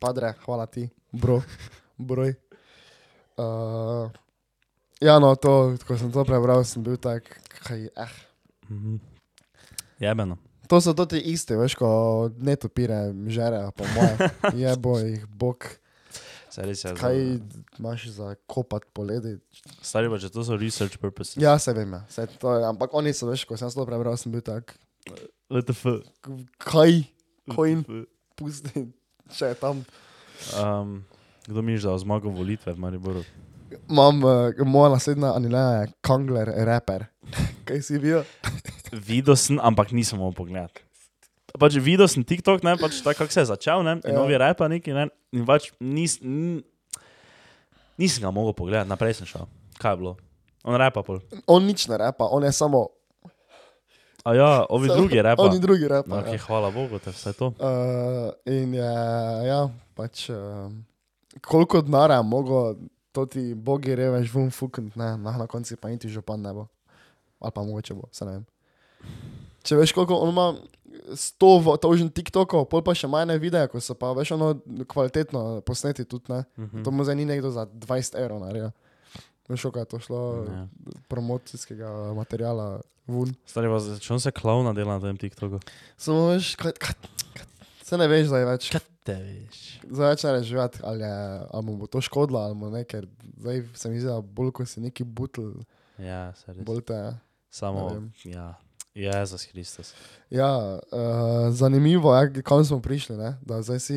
B: Padre, hvala ti, bro, broj. Uh, ja, no, to, ko sem to prebral, sem bil tak, kaj, eh.
C: Mhm. no. Jebeno.
B: To so to ti isti, veš, ko ne topire, žere, po mojem. Je boj, bog,
C: Vse res je. Ja,
B: kaj imaš za kopat poledi.
C: Stari pa, če to so research purposes.
B: Ja, se vem, ja. se to je, ampak oni so, veš, ko sem jaz to prebral, sem bil tak,
C: LTF.
B: kaj, kojim, pusti, če je tam.
C: Um, kdo mi je dal zmago volitve v Mariboru?
B: Imam, uh, moja naslednja anilena je Kangler, raper. Kaj si bil?
C: Videl sem, ampak nisem mogel pogledati. Pač videl sem TikTok, ne, pač tako kako se je začel, ne, in
B: Ja.
C: ja. novi repa neki, ne, in pač nis, n, nisem ga mogel pogledati, naprej sem šel. Kaj je bilo? On repa pol.
B: On nič ne repa, on je samo.
C: A ja, ovi
B: samo-
C: drugi repa.
B: Oni drugi repa.
C: No,
B: Okay.
C: okay,
B: Ja.
C: hvala Bogu, da je vse to.
B: Uh, in je, ja, pač, uh, koliko denarja mogo, to ti bogi reveš, vum fukn, ne, na, na koncu pa niti župan ne bo. Ali pa mogoče bo, se ne vem. Če veš, koliko on ima 100 tožen TikTokov, pol pa še manj videa, ko so pa veš, ono kvalitetno posneti tudi, ne.
C: Mhm.
B: To mu zdaj ni nekdo za 20 evrov naredil. Veš, kako je to šlo,
C: Ja.
B: promocijskega materijala vun.
C: Stari pa, če on se klavna dela na tem TikToku.
B: Samo veš, kaj, kaj, kaj, se ne veš zdaj več.
C: te veš.
B: Zdaj začne živeti, ali, je, ali mu bo to škodilo, ali mu ne, ker zdaj se mi zdi, da bolj ko si neki butl,
C: Ja, se res.
B: bolj te. ne
C: Samo,
B: vem.
C: ja. Jezus Kristus.
B: Ja, uh, zanimivo je, kam smo prišli, ne? da zdaj si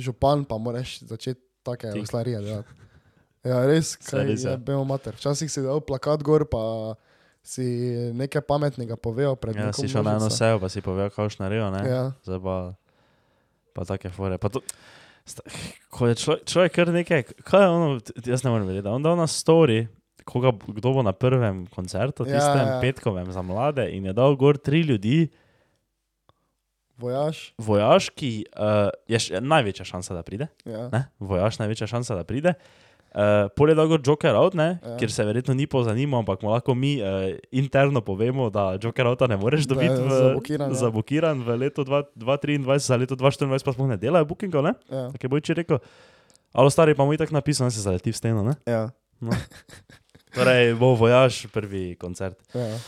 B: župan, pa moraš začeti take
C: Tik.
B: stvari delati. Ja, res,
C: Saj
B: kaj
C: res, ja.
B: je bil mater. Včasih si dal plakat gor, pa si nekaj pametnega povejo pred
C: Ja,
B: neko
C: si šel na eno
B: množico.
C: sejo, pa si povedal, kaj boš naredil, ne?
B: Ja,
C: Zdaj pa, pa take fore. Pa to, sta, ko je človek, človek kar nekaj, kaj je ono, t- jaz ne morem verjeti, da je on dal na story, koga, b- kdo bo na prvem koncertu,
B: Ja,
C: tistem
B: ja.
C: petkovem za mlade in je dal gor tri ljudi,
B: vojaš.
C: vojaški, uh, je še, največja šansa, da pride,
B: Ja.
C: ne? vojaš največja šansa, da pride. Uh, Pol je dal gor Joker out, ne,
B: Ja.
C: ja. kjer se verjetno ni pozanimal, ampak mu lahko mi uh, interno povemo, da Joker outa ne moreš
B: Da
C: dobiti
B: je
C: v,
B: zabukiran, ja.
C: zabukiran v letu 2- 2023, za leto 2024 pa sploh ne delajo bookingov, ne?
B: Ja.
C: Kaj bo če rekel? Alo, stari pa mu je tako napisal, da se zaleti v steno, ne?
B: Ja.
C: Torej, bo vojaš prvi koncert.
B: ja,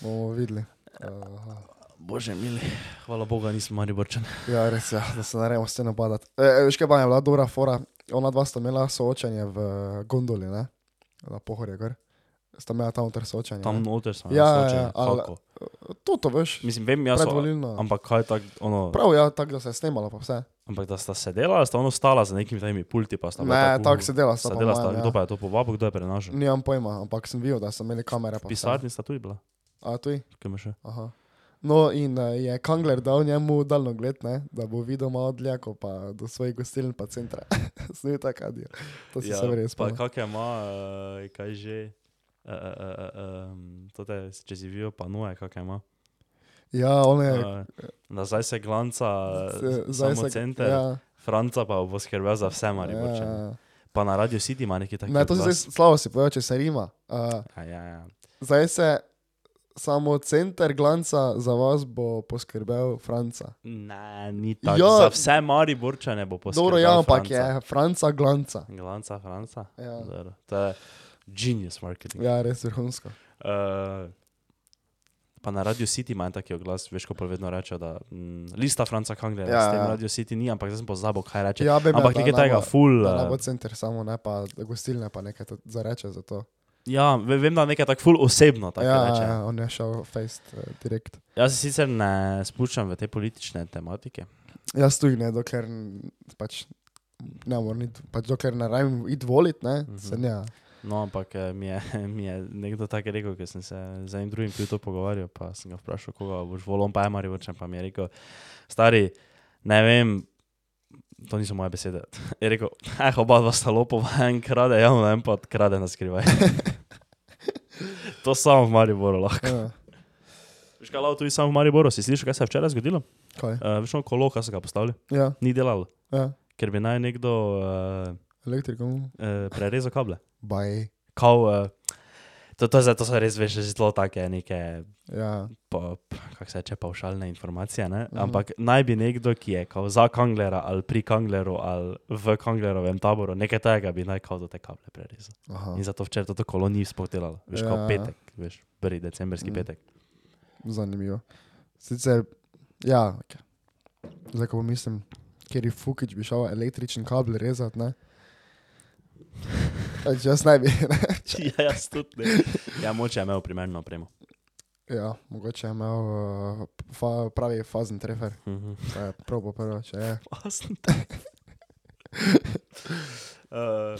B: bomo videli. Uh,
C: Bože, mili, hvala Bogu, nismo mariborčani.
B: Ja, res je, da se narejamo s tem napadati. E, e, veš kaj, pa je bila dobra fora. Ona dva sta imela soočanje v eh, gondoli, ne? Na pohorju, gor. Sta imela tam ter soočanje.
C: Tam
B: ne?
C: noter smo.
B: Ja,
C: nas
B: ja,
C: hočejo,
B: ja, ali-
C: kako?
B: To, to veš.
C: Mislim, vem jaz, o-
B: Predvolilno.
C: ampak kaj je tako, ono,
B: Prav, ja, tako da se je snemalo, pa vse.
C: ampak da sta sedela, ali sta ono stala za nekimi tajnimi pulti, pa sta bila
B: Ne,
C: tako,
B: tako se dela, sta
C: sta
B: pa
C: dela, sta,
B: manj,
C: kdo
B: ja.
C: pa je to povabil, kdo je prenašal.
B: Nimam pojma, ampak sem videl, da so imeli kamere. pa vse.
C: Pisarni sta tudi bila,
B: A tu je?
C: kaj me še.
B: Aha. No, in eh, je Kangler dal njemu daljnogled, ne? da bo videl malo dlje, ko pa do svojih gostiln pa centra. Snuji tako, adijo. To si ja, se verjetno
C: pa
B: spomnim.
C: kakšne ima, eh, kaj že, eh, eh, eh, eh, em, tote, če si vijo, pa nuje, kakšne ima.
B: Ja, on je.
C: Eh, Nazaj se glanca, eh,
B: se- zdaj
C: samo
B: se-
C: center.
B: Ja,
C: Franca pa bo skrbel za vse, ali
B: ja,
C: boče.
B: ja.
C: Pa na Radio City ima nekaj takega.
B: Ne, to si zdaj slabo si povedal, če se rima. Uh,
C: Ja, ja, ja.
B: zdaj se samo center glanca za vas bo poskrbel Franca.
C: Ne, ni tako.
B: Ja.
C: Ja. Za vse Mariborčane bo poskrbel.
B: Dobro, ja, ampak
C: Franca.
B: je Franca glanca.
C: Glanca, Franca.
B: Ja.
C: Dobro, To je genius marketing. Ja.
B: Ja, res vrhunsko.
C: Uh, pa na Radio City ima en taki oglas, veš, ko pa vedno rečejo, da mm, lista Franca Kanglerja,
B: Ja,
C: ja, s tem
B: ja.
C: Radio City ni, ampak zdaj sem pozabil, kaj reče.
B: Ja, bi me,
C: ampak
B: da
C: nekaj
B: ne
C: takega,
B: bo-
C: full.
B: Da ne
C: eh,
B: bo center samo, ne pa gostilne, pa nekaj to zareče za to.
C: Ja, ve- vem, da nekaj tako full osebno. Tako
B: ja,
C: reče.
B: ja, on je šel face uh, direkt.
C: Jaz se sicer ne spuščam v te politične tematike.
B: Jaz tu ne, dokler n- pač ne morem, iti- pač dokler ne rabim iti volit, ne,
C: Mhm.
B: mm -hmm. se ne.
C: No, ampak eh, mi je, mi je nekdo tako rekel, ker sem se z enim drugim tudi to pogovarjal, pa sem ga vprašal, koga boš volil, on pa je marivočen, pa mi je rekel, stari, ne vem, to niso moje besede. Je rekel, eh, oba dva sta lopova, en krade javno, en pa krade na skrivaj. to samo v Mariboru lahko.
B: Ja,
C: Veš kaj, lao, tudi samo v Mariboru, si slišal, kaj se je včeraj zgodilo?
B: kaj?
C: Uh, veš, ono kolo, kaj so ga postavili,
B: Ja,
C: ni delalo,
B: ja,
C: ker bi naj nekdo uh,
B: elektrikom,
C: uh, prerezal kable.
B: baj.
C: kao, uh, to, to, to, to so res veš, zelo take neke,
B: Ja,
C: pa- p- kako se reče, pavšalne informacije. Ne?
B: Mhm.
C: Ampak naj bi nekdo, ki je kao za Kanglera ali pri Kangleru ali v Kanglerovem taboru, nekaj tega bi naj kao do te kable prerezal.
B: aha.
C: In zato včeraj to kolo ni spotelalo, veš,
B: Ja, ja.
C: kao petek, veš, prvi decembrski
B: Mhm.
C: mm. petek.
B: Zanimivo. Sicer, ja, okay. zdaj ko mislim, ker je Fukič bi šel električen kabel rezati, ne? Pač jaz naj bi. Ne?
C: ja, jaz tudi. Ne. Ja, moče je imel primerno opremo.
B: Ja, mogoče je imel uh, fa, pravi fazen trefer.
C: Mhm.
B: To je probo prvo, če je.
C: Pasen tak. uh,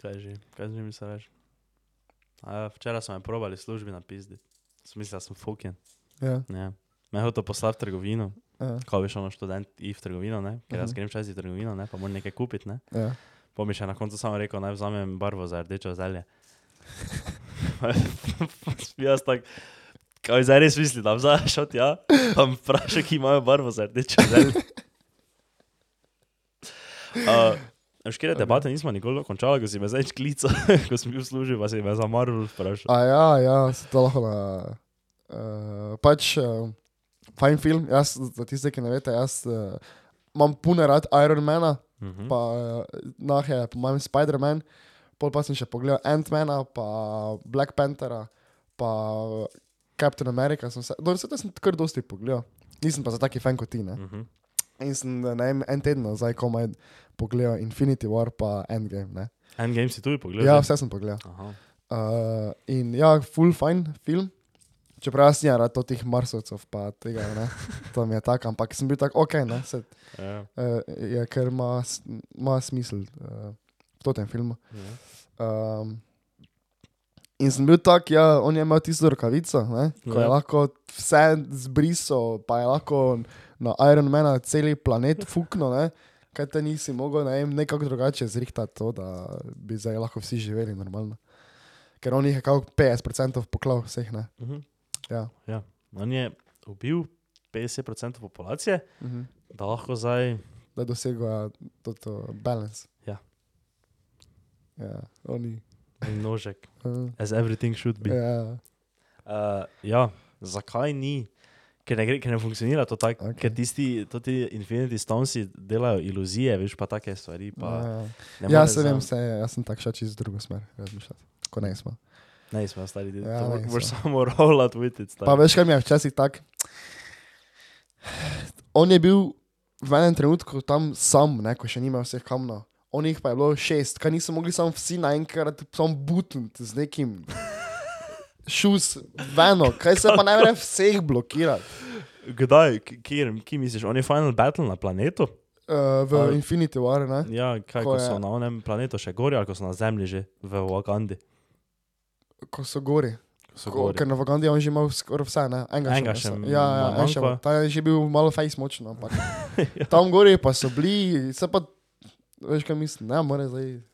C: kaj že, kaj že mi se reče? A ja, Včeraj smo me probali v službi napisati. Smisel, da sem fucking.
B: Ja,
C: Ja. Me je hotel poslati v trgovino,
B: ja,
C: ko veš, ono študent in v trgovino, ne? ker
B: Mhm.
C: jaz grem čez trgovino, ne? pa moram nekaj kupiti. Ne?
B: ja.
C: Pa mi še na koncu samo rekel, naj vzamem barvo za rdečo zelje. Jaz tako, kaj zdaj res misli, da vzameš od ja, tam vprašaj, ki imajo barvo za rdečo zelje. Uh, Škere debate nismo nikoli končali, ko si me zdaj klical, ko sem bil v službi, pa si me za Marvel vprašal.
B: A ja, ja, se to lahko na... Uh, pač, uh, fajn film, jaz, za tiste, ki ne veste, jaz uh, imam pune rad Ironmana,
C: Mhm.
B: pa eh, nah je, po mojem, Spider-Man, pol pa sem še pogledal Ant-Mana, pa Black Panthera, pa eh, Captain America. Sem se, no, vse to sem kar dosti pogledal. nisem pa za taki fan kot ti. Ne?
C: Mhm.
B: In sem ne vem, en teden nazaj komaj pogledal Infinity War pa Endgame. Ne?
C: En game si tudi pogledal.
B: Ja, vse sem pogledal.
C: Aha.
B: Uh, in ja, full fine film. Čeprav jaz nisem rad teh marsovcev, pa tega ne, to mi je tako, ampak sem bil tako no, ok, ne, se,
C: Ja,
B: uh, je, ker ima s- ima smisel uh, to tem filmu.
C: ja.
B: Um, in sem bil tak, ja, on je imel tisto rokavico, ne, ko je
C: Ja.
B: lahko vse zbrisal, pa je lahko na Ironmana cel planet fuknil, ne, kaj te nisi mogel ne vem, nekako drugače zrihtati to, da bi zdaj lahko vsi živeli normalno. Ker on jih je kao 50% poklal vseh, ne.
C: Mhm.
B: Ja.
C: ja. On je ubil 50% populacije,
B: Mhm.
C: da lahko zdaj.
B: Da dosega to, to balance.
C: Ja.
B: Ja, oni.
C: Množek,
B: Uh,
C: as everything should be.
B: ja,
C: Uh, ja, zakaj ni? Ker ne, gre, ker ne funkcionira to tako,
B: Okej.
C: okay. ker tisti, to ti Infinity Stonesi delajo iluzije, veš pa take stvari. Pa
B: ja.
C: ne
B: Ja,
C: moreš
B: se vem,
C: sam-
B: se, jaz sem tak šel čez drugo smer razmišljati, ko ne smo.
C: Ne, smo stari,
B: Ja,
C: ja,
B: ne,
C: moraš
B: so.
C: samo rolat with it.
B: Pa
C: stari.
B: veš, kaj mi je včasih tak. On je bil v enem trenutku tam sam, ne, ko še nima vseh kamnov. On jih pa je bilo šest, kaj niso mogli samo vsi naenkrat, samo butniti z nekim. Šus, veno, kaj se pa ne more vseh blokirati.
C: Kdaj, k- kjer, ki misliš, on je Final Battle na planetu?
B: Uh, v
C: Ali-
B: Infinity War, ne?
C: Ja, kaj,
B: Ko
C: ko, ko
B: je-
C: so na onem planetu še gori, ali ko so na zemlji že v Wakandi.
B: ko so gori.
C: Ko so
B: Ko,
C: gori.
B: ker na Vagandi je on že imel skoraj vse, ne? enega,
C: Enega
B: še.
C: še
B: ne, so- Ja, ja,
C: ma-
B: en še.
C: manjka.
B: Ta je že bil malo fejs močno, ampak Ja. tam gori pa so bili, se pa, veš kaj mislim, ne, more zdaj.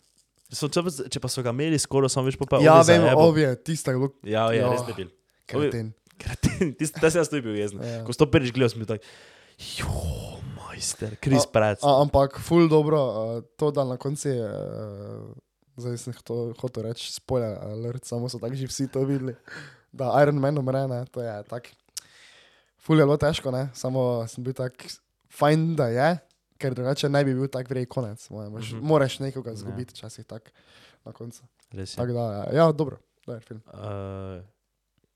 C: So, če, pa, če pa so ga imeli skoro, sem več popel.
B: ja, vem, ovje, tista je bilo
C: Ja, je
B: Ja.
C: res debil. Ovi-
B: kreten.
C: Kreten, tisti, ta se jaz tudi bil jezen.
B: Ja.
C: Ko sto prvič gledal, sem bil tak, jo, majster, Kris Prac.
B: A, ampak ful dobro, uh, to da na koncu je, uh, zdaj sem to hotel reči, spoiler alert, samo so tako že vsi to videli, da Iron Man umre, ne, to je tak. Ful je bilo težko, ne, samo sem bil tak, fajn da je, ker drugače ne bi bil tak vrej konec, moje, moraš, mm
C: Mhm.
B: -hmm. moraš nekoga
C: Ja.
B: izgubiti včasih tak na koncu.
C: Res je.
B: Tako da, ja, dobro, dober film.
C: Eh,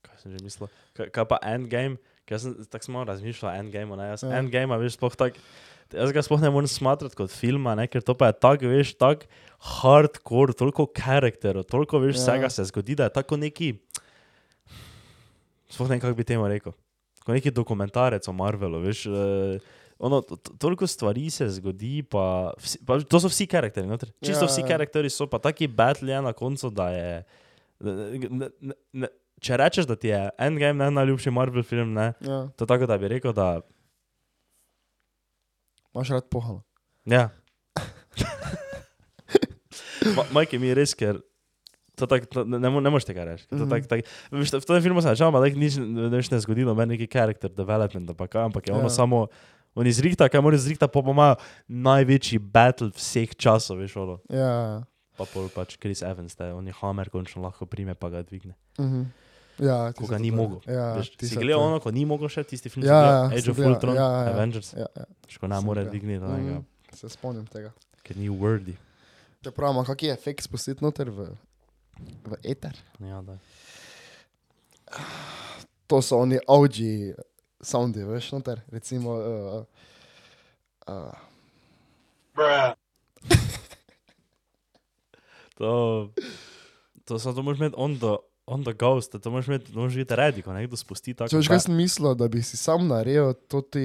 C: kaj sem že mislil? Kaj, kaj pa endgame? Ker jaz sem tako smo razmišljali o endgameu. ne, Jaz
B: Ja.
C: ja. endgame, veš, sploh tak. Jaz ga sploh ne morem smatrati kot filma, ne, ker to pa je tako, veš, tako hardcore, toliko karakterov, toliko veš,
B: Ja.
C: ja. vsega se zgodi, da je tako neki. Sploh ne vem, kako bi temu rekel. Kot neki dokumentarec o Marvelu, veš. eh, Ono, to- to- toliko stvari se zgodi, pa, vsi, pa to so vsi karakteri. Noter.
B: Ja,
C: Čisto ja, vsi
B: ja.
C: karakteri so, pa taki battle je na koncu, da je. Ne, ne, ne, ne, če rečeš, da ti je Endgame ne, najljubši Marvel film, ne,
B: Ja,
C: to je tako da bi rekel, da.
B: imaš rad pohalo.
C: Ja. Ma- Majke mi je res, ker. to Tako, to, ne, ne mo- ne moreš tega reči. To
B: Mhm.
C: Tak, tak, veš, v tem filmu se načeloma tako nič ne, nič ne zgodi, noben neki character development, ampak, kaj, ampak je
B: Ja.
C: ono ja. samo, on izrihta, kaj mora izrihtati, pa pa imajo največji battle vseh časov, veš, ono.
B: Ja, ja, ja.
C: Pa pol pač Chris Evans, da je on je Hammer končno lahko prime, pa ga dvigne.
B: Mhm. ja
C: Ko
B: tisto
C: ga ni
B: to-
C: mogel.
B: Ja,
C: Veš, si
B: tisto
C: gledal
B: to-
C: ono, ko ni mogel še tisti film,
B: Ja,
C: ja,
B: ja,
C: Age
B: sem
C: of
B: gledal,
C: Ultron,
B: ja, ja.
C: Avengers,
B: Ja, ja.
C: še ko ne
B: sem
C: more
B: gledal.
C: dvigniti, mm.
B: Mhm, Se spomnim tega.
C: ker ni worthy.
B: Če pravimo, kak je efekt spustiti noter v, v eter.
C: Ja, daj.
B: To so oni OG soundi, veš, noter. Recimo, uh, uh,
C: to, to, samo to moraš imeti on the, on the ghost, to moraš imeti, to moraš biti ready, ko nekdo spusti tako.
B: če veš, kaj sem mislil, da bi si sam naredil to ti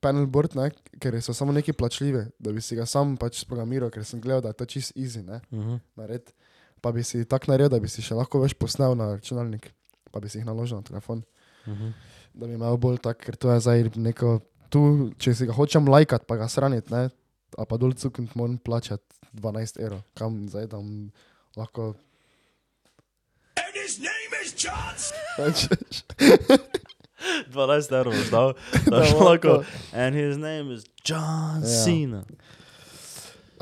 B: panel board, ne, ker so samo neki plačljivi, da bi si ga sam pač sprogramiral, ker sem gledal, da je to čist easy, ne,
C: Mhm.
B: nared. Pa bi si tak naredil, da bi si še lahko več posnel na računalnik, pa bi si jih naložil na telefon.
C: Mhm.
B: da bi imel bolj tak, ker to je zdaj neko, tu, če si ga hočem lajkati, pa ga sraniti, ne, a pa dol cuknit moram plačati 12 evrov, kam zdaj tam lahko. And his name is John!
C: 12 evrov boš dal, da
B: Da
C: je
B: bo
C: lahko.
B: to.
C: And his name is John
B: Ja.
C: ja. Cena.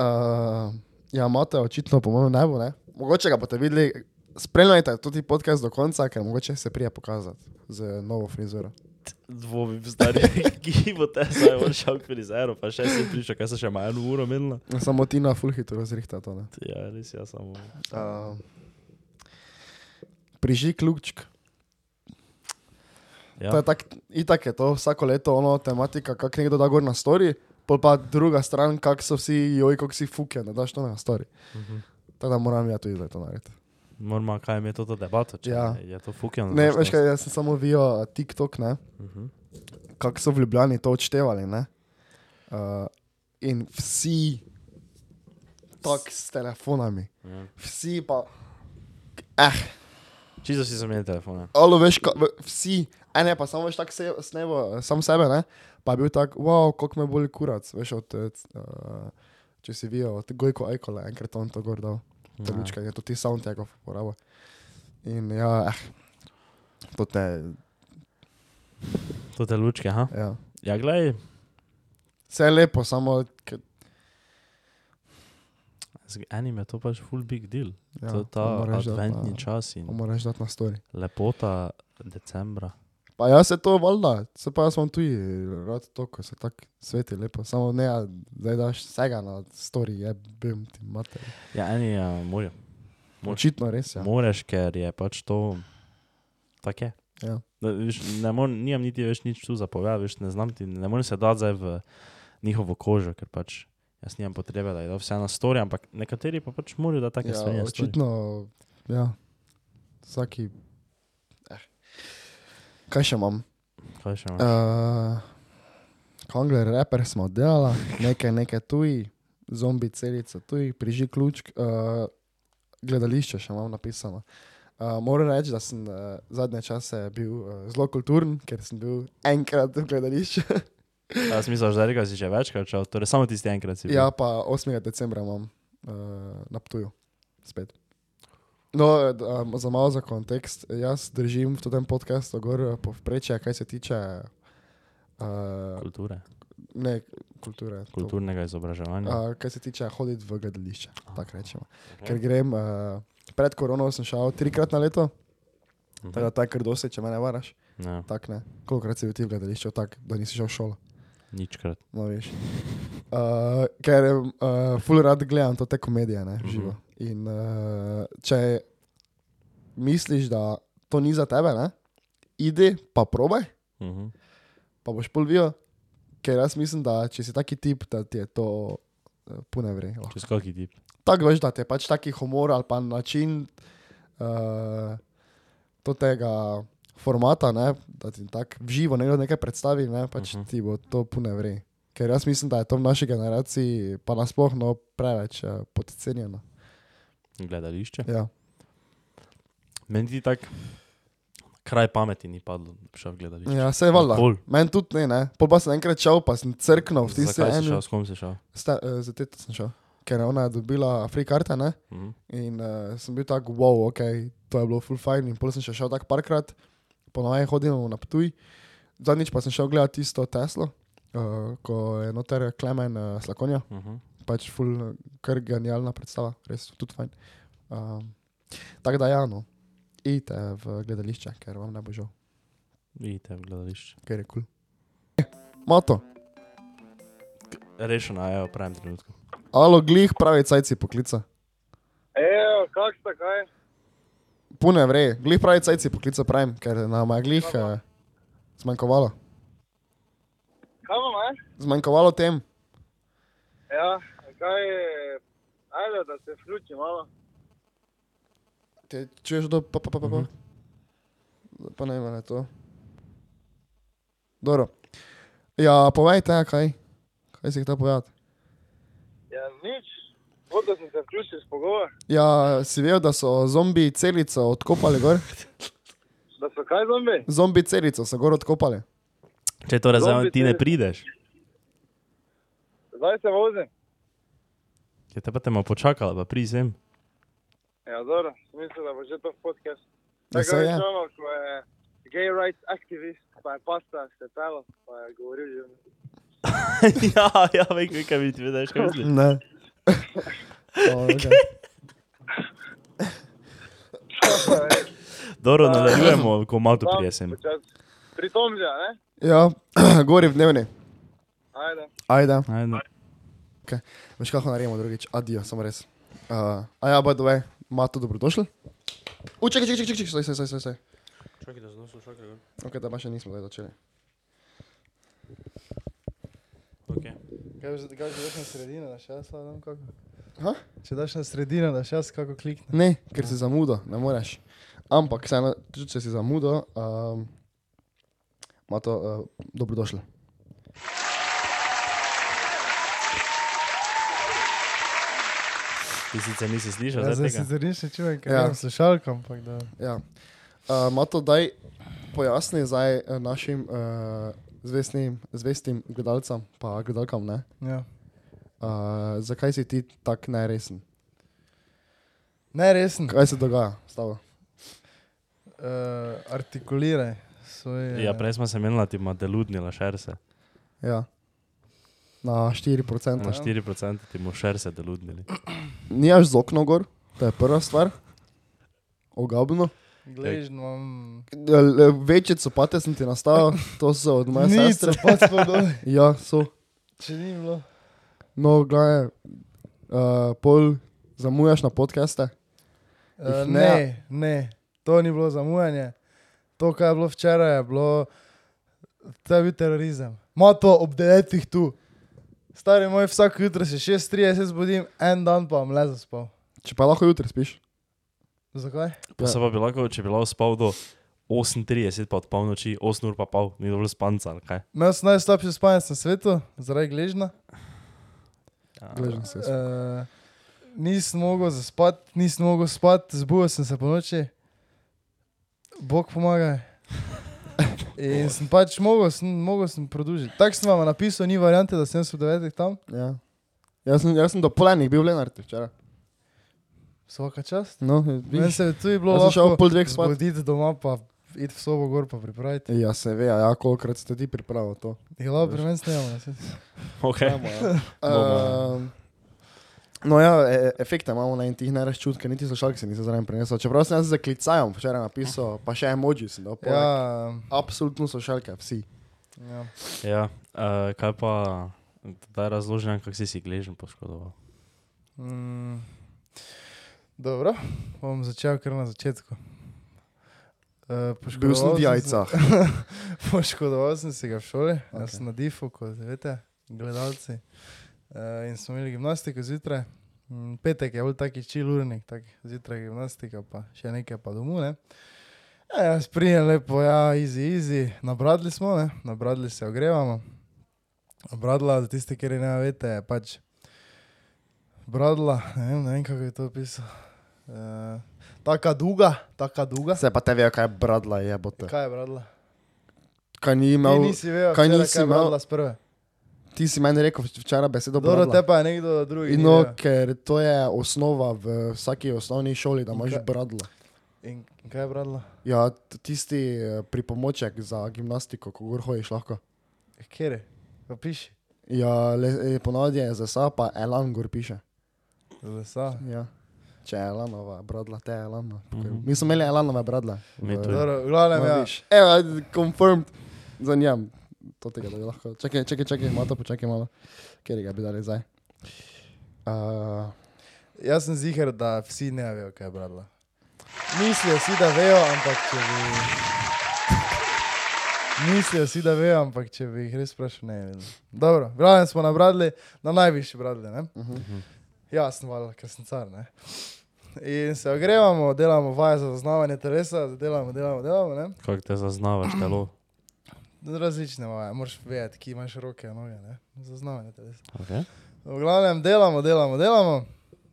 B: uh, ja, imate očitno, po mojem, najbolj, ne? Mogoče ga boste videli, spremljajte tudi podcast do konca, ker mogoče se prija pokazati z novo frizuro.
C: Dvomim, stari, ki bo te zdaj odšel frizer, pa še si priča, kaj se še ima eno uro minilo.
B: Samo ti na fulhitu razrihta to, ne?
C: Ja, res jaz samo.
B: Uh, prižig lukčk.
C: Ja.
B: To je tak, itak je to vsako leto ono tematika, kak nekdo da gor na story, pol pa druga stran, kak so vsi, joj, kako si fuke, da daš to na story.
C: Mhm.
B: Tako da moram ja tudi zdaj to narediti.
C: Moramo, kaj je to, to debato, če
B: Ja.
C: ja. je to fukjeno.
B: Ne, veš kaj, jaz sem samo videl eh, TikTok, ne,
C: Mhm.
B: kako so v Ljubljani to odštevali, ne. Uh, in vsi, tako s telefonami,
C: Ja.
B: vsi pa, eh,
C: Čisto si zamenjal telefone.
B: Alo, veš, ka, v- vsi, a ne, pa samo veš tako se, snevo, eh, sam sebe, ne, pa je bil tak, wow, kako me boli kurac, veš, od, eh, c- eh, če si videl, od Gojko Ajkola, je enkrat on to gor dal, ta
C: Ja.
B: lučka, je to ti soundtrackov uporabo. In ja, eh, to te,
C: To te lučke, ha?
B: ja.
C: Ja, gledaj,
B: Vse je lepo, samo, ke-
C: z enim je to pač full big deal.
B: ja,
C: Ja, to je ta
B: to moraš dati
C: adventni
B: na-
C: čas in
B: To moraš dati na story.
C: lepota decembra.
B: Pa jaz se to valjda, se pa jaz sem tu, rad to, ko se tako sveti lepo, samo ne, a zdaj daš vsega na story, je bim ti mater.
C: Ja, eni je morje. Moč.
B: Očitno res, ja.
C: Moreš, ker je pač to tako je.
B: Ja.
C: Da, viš, ne morem, nimam niti več nič tu zapovedati, veš, ne znam ti, ne morem se dati zdaj v njihovo kožo, ker pač jaz nimam potrebe, da je to vse na stori, ampak nekateri pa pač morajo, da take stvari
B: Ja,
C: na story.
B: očitno, ja, vsaki. Eh. Kaj še imam?
C: Kaj še imaš?
B: Uh, Kongler, reper smo delali, nekaj, nekaj tuji, zombi celica tuji, priži ključk, uh, gledališče še imam napisano. Uh, moram reči, da sem uh, zadnje čase bil uh, zelo kulturen, ker sem bil enkrat v gledališču.
C: Jaz mislim, da rekel si že večkrat, čal, torej samo tisti enkrat si. bil.
B: ja, pa 8. decembra imam uh, na Ptuju spet. No, d- um, za malo za kontekst, jaz držim v tem podkastu gor eh, povprečje, kaj se tiče uh,
C: Kulture,
B: ne, kulture. to.
C: kulturnega izobraževanja.
B: Uh, kaj se tiče hoditi v gledališče, tako rečemo. Ker grem, uh, pred korono sem šel trikrat na leto,
C: Mhm.
B: tako da tako dosti, če me ne varaš.
C: Ja,
B: Tak, ne. Kolikrat si bil ti v gledališču, tako da nisi šel v šolo.
C: ničkrat.
B: No, veš. Uh, ker uh, ful rad gledam to te komedije, ne,
C: Mhm.
B: živo. In uh, če misliš, da to ni za tebe, ne, idi pa probaj,
C: Mhm.
B: pa boš polvijo, ker jaz mislim, da če si taki tip, da ti je to uh, pune vre. Lahko.
C: Čez kaki tip.
B: Tako veš, da ti je pač taki humor ali pa način uh, to tega formata, ne, da ti tako v živo nekdo nekaj predstavi, ne, pač uh
C: Mhm.
B: -huh. ti bo to pune vre. Ker jaz mislim, da je to v naši generaciji, pa nasplošno, preveč uh, podcenjeno.
C: Gledališče.
B: Ja.
C: Meni ti tak kraj pameti ni padlo, da bi šel v gledališče.
B: ja, se je valjda.
C: Nikoli.
B: Meni tudi ne, ne. Pol pa sem enkrat šel, pa sem
E: Ja,
B: crknil v tisti
C: Zakaj si šel,
B: eni.
C: s kom si šel?
B: Sta- eh, Za teto sem šel, ker ona je dobila free karte, ne.
C: Mhm.
B: In uh, sem bil tako, wow, ok, to je bilo full fajn. In potem sem še šel tako parkrat, ponovadi hodimo na Ptuj. Zadnjič pa sem šel gledati isto Teslo, uh, ko je noter Klemen uh, Slakonja,
C: Mhm.
B: pač full, eh, kar genialna predstava, res tudi fajn. Um, tako da, ja, no, idite v gledališče, ker vam ne bo žal,
C: Vidite v gledališče.
B: ker je kul. Cool. Moto,
C: Rešeno je ja, v pravem trenutku.
B: alo glih, pravi cajci poklica.
A: Ejo, kak sta kaj?
B: Pune vre, glih pravi cajci poklica pravim, ker nam je glih uh, zmanjkovalo.
A: Kaj vam je?
B: Zmanjkovalo tem.
A: Ja, kaj je? Ajde, da se vključi malo.
B: Te čuješ do pa pa pa pa pa.
C: Mhm.
B: Pa ne vem, to. Dobro. Ja, povejte, kaj? Kaj si hotel povedati?
A: Ja, nič. Vodo sem se vključil s pogovor.
B: Ja, si vedel, da so zombi celico odkopali gor?
A: Da so kaj zombi?
B: Zombi celico so gor odkopali.
C: Če torej zdaj
A: Zombi
C: ti ne
A: tele-
C: prideš,
A: Zdaj se vozim.
C: je Ja, te pa te malo počakala, pa prizem.
A: Ja, dobro, mislim, da bo že to v podcast.
B: Ja,
A: Tako
B: saj
A: je
B: je.
A: ono, ko je gay rights aktivist, pa je pasta se telo, pa je govoril že.
C: ja, ja, veš, veš, kaj vidiš, veš, kaj misliš.
B: Ne. O, okay.
C: Dobro, nadaljujemo, ko malo tu
A: Tam,
C: prijesem.
A: počasi. Pri tom že, ne?
B: Ja, gori v dnevni.
A: Ajde.
B: Ajde.
C: Ajde. no.
B: Veš kako naredimo drugič, adijo, samo res. Eh, Uh, a ja, by the way, Mato, dobrodošli. U, čekaj, čekaj, čekaj, čekaj, stoj, stoj, stoj, stoj, stoj.
F: Čakaj, da znosim šake. gor.
B: Ok, da pa še nismo zdaj začeli.
F: Okay.
E: Kaj bi zdaj, če daš na sredino, da še jaz sladam kako?
B: Ha?
E: Če daš na sredino, da še jaz kako kliknem.
B: Ne, ker si zamudo, ne moreš. Ampak, vseeno, tudi če si zamudo, um, ima to uh, dobrodošlo.
C: Ti sicer nisi slišal,
E: Ja,
C: zdaj
E: zdaj si
C: tega.
E: zrniš, če čujem, kaj
B: Ja.
E: ja. slušalko, ampak da.
B: Ja. Uh, Mato, daj pojasni zdaj eh, našim uh, zvestnim, zvestim gledalcem, pa gledalkam, ne?
E: Ja.
B: Uh, zakaj si ti tako neresen?
E: Ne, resen.
B: Kaj se dogaja s tabo?
E: Uh, artikuliraj svoje.
C: Ja, prej smo se menili, da ti ima deludnila šerse.
B: Ja. Na 4%.
E: ja.
C: Na 4% ti mu šerse deludnili.
B: Nijaš z okno gor, to je prva stvar. Ogabno. Ja,
E: Gležen imam.
B: Le- Večje copate sem ti nastavil, to so od moje
E: Niso,
B: sestre.
E: pa smo dol.
B: Ja, so.
E: Če ni bilo.
B: No, gledaj, uh, pol zamujaš na podcaste.
E: Eh,
B: Jih ne.
E: ne, ne, to ni bilo zamujanje. To, kar je bilo včeraj, je bilo, to je bil terorizem. Mato ob devetih tu. Stari moj, vsako jutro se 6:30 zbudim, en dan pa bom le zaspal.
B: Če pa lahko jutri spiš.
E: Zakaj?
C: Pa se pa bi lahko, če bi lahko spal do 8.30, pa od polnoči, 8 ur pa pol, ni dovolj spanca, ali kaj.
E: Imel sem najslabši spanec na svetu, zaradi gležna.
B: Gležen se.
E: Uh, nisem mogel zaspati, nisem mogel spati, zbudil sem se po noči, Bog pomaga. In sem pač mogel, sem, mogel sem produžiti. Tako sem vam napisal, ni variante, da sem se v devetih tam.
B: Ja. Jaz sem, jaz sem do polenih bil v Lenartu včeraj.
E: Vsaka čast.
B: No,
E: Meni
B: vidiš.
E: se je tudi bilo
B: Jaz sem šel
E: lahko
B: ob pol dveh spat.
E: zbuditi doma, pa iti v sobo gor, pa pripraviti.
B: Ja, se ve, ja, kolikrat ste ti pripravili to.
E: Glavo pri meni snemamo.
C: Okay.
B: Um, no, ja, e- efekte imamo na en tih najraš čut, ker niti slušalke se niso zraven prenesel. Čeprav sem jaz zaklicajem včeraj napisal, pa še emoji sem dal.
E: Ja,
B: Ja. Absolutno slušalke, vsi.
E: ja.
C: Ja, uh, kaj pa, da razložim, kako si si gležen poškodoval.
E: Mm, dobro, bom začel kar na začetku. Uh,
B: Bil sem v jajcah.
E: Poškodoval sem se ga v šoli, okay. jaz
B: Okej.
E: sem na difu, kot veste, gledalci. Uh, in smo imeli gimnastiko zjutraj, Mm, petek je bil taki čil urnik, taki zjutraj gimnastika, pa še nekaj pa domu. Ne? E, jaz prijem lepo, ja, easy, easy, nabradli smo, ne? nabradli se ogrevamo. Bradla, za tiste, ki ne veste, je pač bradla, ne vem, ne vem kako je to opisal. Uh, taka duga, taka duga.
B: Se pa te vejo, kaj je bradla je, bo te.
E: Kaj je bradla?
B: Kaj ni
E: Ti
B: imel,
E: nisi vedel,
B: kaj
E: včeraj,
B: nisi
E: je
B: imel?
E: bradla sprve.
B: ti si meni rekel včeraj besedo
E: Dobro, te
B: bradla.
E: pa je nekdo drugi.
B: In
E: ni
B: no,
E: vedel.
B: ker to je osnova v vsaki osnovni šoli, da imaš
E: kaj-
B: bradla.
E: In, in kaj je bradla?
B: Ja, t- tisti eh, pripomoček za gimnastiko, ko gor hojiš lahko.
E: Kjer je? Pa piši.
B: Ja, le, ponavadi je zasa, pa elan gor piše.
E: Lesa.
B: Ja. Če je Elanova, bradla, te je Elanova. Mm. Mi smo imeli Elanove bradle.
C: Mhm. Mi
B: V-
C: tudi.
E: Dobro, v glavnem,
B: No,
E: ja.
B: viš. Evo, ajde, confirmed. Zanjam. To tega, da bi lahko. Čakaj, čakaj, čakaj, malo počakaj malo. Kjer ga bi dali zdaj? Uh,
E: Jaz sem ziger, da vsi ne vejo, kaj je bradla. Mislijo si, da vejo, ampak če bi. Mislijo si, da vejo, ampak če bi jih res vprašal, ne vejo. Dobro, v glavnem smo nabradli na najvišji bradli, ne?
B: uh -huh.
E: Jasno, valjda, ker sem car. Ne? In se ogrevamo, delamo vaje za zaznavanje telesa, delamo, delamo, delamo. Ne?
C: Kako te zaznavaš telo?
E: No, Različne vaje, moraš vedeti, ki imaš roke, noge, ne? zaznavanje telesa.
C: Okay.
E: V glavnem delamo, delamo, delamo.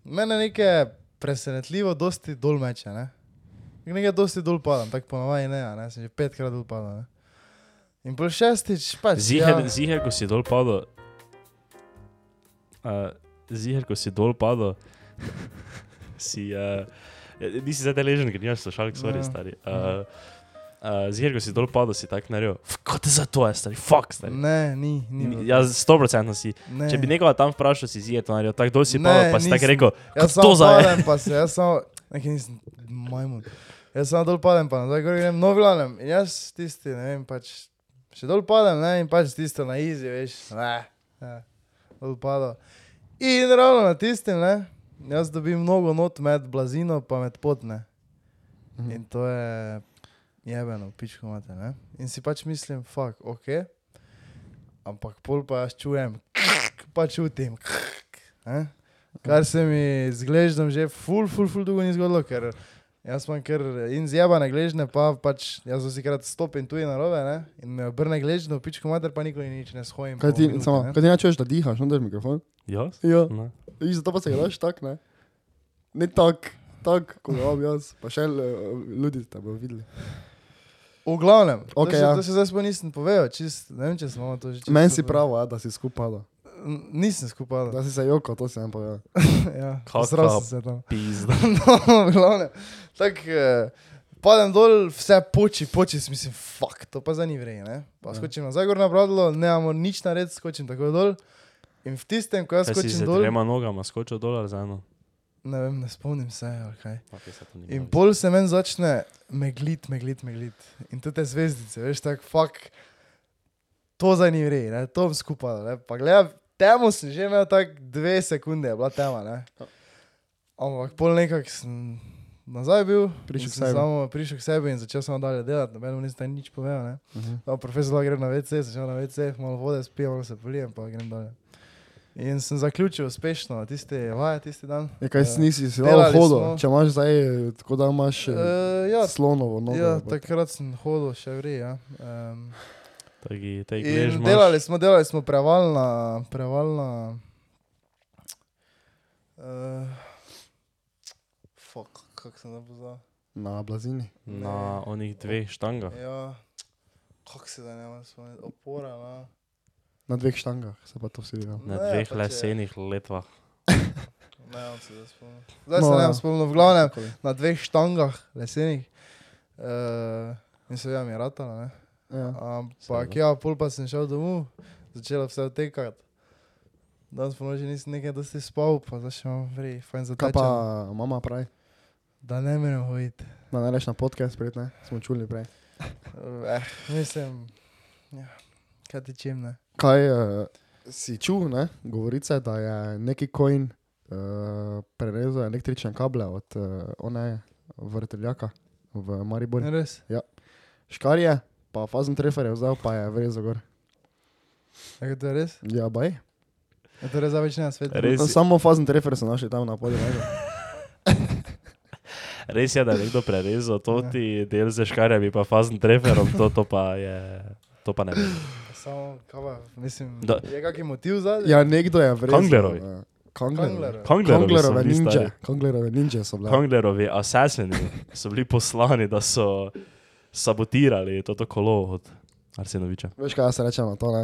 E: Mene nekaj presenetljivo, dosti dol meče. Ne? Nekaj dosti dol padam, tako ponovaj ne, a ne, sem že petkrat dol padal. Ne? In pol šestič, pač.
C: Ziher,
E: ja,
C: ja. ziher, ko si dol padel. Uh, ziher, ko si dol padel, si. Uh, nisi zdaj deležen, ker nimaš slušalk, sorry,
E: Ja.
C: ja. stari. Uh, uh, ziher, ko si dol padel, si tak naredil. "F, Kot za to je, stari, fuck, stari.
E: Ne, ni, ni. bilo.
C: Ja, sto procentno si.
E: Ne.
C: Če bi nekoga tam vprašal, si ziher to naredil, tako dol si
E: Ne,
C: padel, pa si tako
E: nisem.
C: rekel.
E: Jaz
C: "Kot
E: samo
C: to za je."
E: padem, pa se, jaz samo, nekaj nisem, majmun. Jaz samo dol padem, pa nazaj gor grem, no, vlanem. In jaz tisti, ne vem, pač, še dol padem, ne, in pač tisto na izi, veš, ne, ne, dol padem. In ravno na tistem, ne, jaz dobim mnogo not med blazino, pa med potne. In to je jebeno, pičko imate. Ne? In si pač mislim, fuck, ok. Ampak pol pa jaz čujem, pa čutim. ne. Kar se mi z gležnjem že ful, ful, ful dolgo ni zgodilo, ker jaz imam kar in zjebane gležne, pa pač jaz vsikrat stopim tu in narove ne? in me obrne gležnjo, pičko mater, pa nikoli nič ne shojim.
B: Kaj
E: pol
B: ti,
E: minute,
B: samo,
E: ne.
B: kaj ti načuješ, da dihaš, no, da je mikrofon?
C: Jaz?
B: Ja.
C: Ne.
B: In zato pa se ga daš tak, ne? Ne tak, tak, kot ga imam jaz. Pa še eh, ljudi te bodo videli.
E: V glavnem,
B: Ok,
E: to,
B: ja.
E: se, to se zdaj sploh nisem povedal, čist, ne vem, če smo to že čisto
B: Meni si
E: povedali.
B: pravo, ja, da si skupaj, da.
E: N- Nisem skupaj.
B: da si se joko, to si nam povedal.
E: Ja,
C: Kaka
E: Zrasel se tam.
C: Pizda.
E: no, glavne. Tako, eh, padem dol, vse poči, poči, si mislim, fuck, to pa zdaj ni vrej, ne.
C: Ja.
E: Pa skočim nazaj gor na bradlo, ne imamo nič narediti, skočim tako dol. In v tistem, ko jaz
C: Kaj si z
E: skočim dol,
C: trema nogama skočil dolar za eno?
E: ne vem, ne spomnim se, ali kaj.
C: Pa, kaj se to ni
E: In
C: bilo.
E: bolj se meni začne meglit, meglit, meglit. In tudi te zvezdice, veš, tako fuck, to zdaj ni vrej, ne, to bom skupaj. Ne. Pa gledaj, temu sem že imel tako dve sekunde, je bila tema, ne. Ampak pol nekak sem nazaj bil,
B: Prišel
E: in
B: k
E: sem
B: sebi.
E: Samo prišel k sebi in začel samo dalje delati, noben mi nisem nič povedal, ne. No, profesor lahko grem na WC, začel na WC, malo vode spijem, malo se polijem, pa grem dalje. In sem zaključil uspešno tiste vaje, tisti dan.
B: Ja, kaj
E: Eh,
B: si nisi, si dal
E: delali
B: hodo,
E: smo.
B: če imaš zdaj, eh, tako da imaš eh,
E: Eh, ja,
B: slonovo nogo.
E: Ja,
B: jebote.
E: takrat sem hodil še vrej. Ja. Um,
C: Taki, tej glež imaš-
E: delali smo, delali smo prevalna, prevalna. Uh, fuck, kak sem zapoznal.
B: Na blazini.
C: Na onih dveh štangah.
E: Ja, kak se da ne morem spomniti, opora no. na.
B: Na dveh štangah se pa to vsi dela.
C: Na
E: Ne,
C: dveh
E: pa če-
C: lesenih letvah.
E: Ne, on se da spomnim. Zdaj
B: No,
E: se ne
B: ja.
E: bom spomnil, v glavnem na dveh štangah lesenih. Uh, in seveda mi je ratala, ne.
B: Ja.
E: Ampak ja, pol pa sem šel domov, začela vse odtekati. Danes ponoči nisem nekaj, da si spal, pa zdaj še imam vrej, fajn za
B: Kaj
E: tebe.
B: pa mama pravi?
E: Da ne morem hoditi.
B: Da ne rečeš na podcast, pred, ne? Smo čuli prej.
E: Eh, mislim, ja, kaj ti čim ne.
B: Kaj uh, si čutil, ne? Govorice, da je neki coin uh, prerezal električne kable od uh, one vrteljaka v Mariboru.
E: Ne res.
B: Škarje, pa fazen trefer je vzel, pa je vrezal gor.
E: Je to res?
B: Ja, baj.
E: Je to res za več na svetu?
C: Res,
B: No, samo fazen trefer so našli tam na polju. ne?
C: res je, da je nekdo prerezal to
E: Ja.
C: ti del ze škarjami, pa fazen treferom, to, to pa je... To pa ne vem.
E: Samo, kava, mislim,
C: Da-
E: je kakšen motiv za to?
B: Ja, nekdo je vrezal.
C: Kanglerovi.
B: eh, Kanglerovi.
C: Konglerovi so
B: Kanglerove
C: bili
B: ninja.
C: stari.
B: Kanglerove ninja so bile.
C: Konglerovi asasini so bili poslani, da so sabotirali to kolo od Arsenoviča.
B: Veš kaj jaz rečem na to, ne?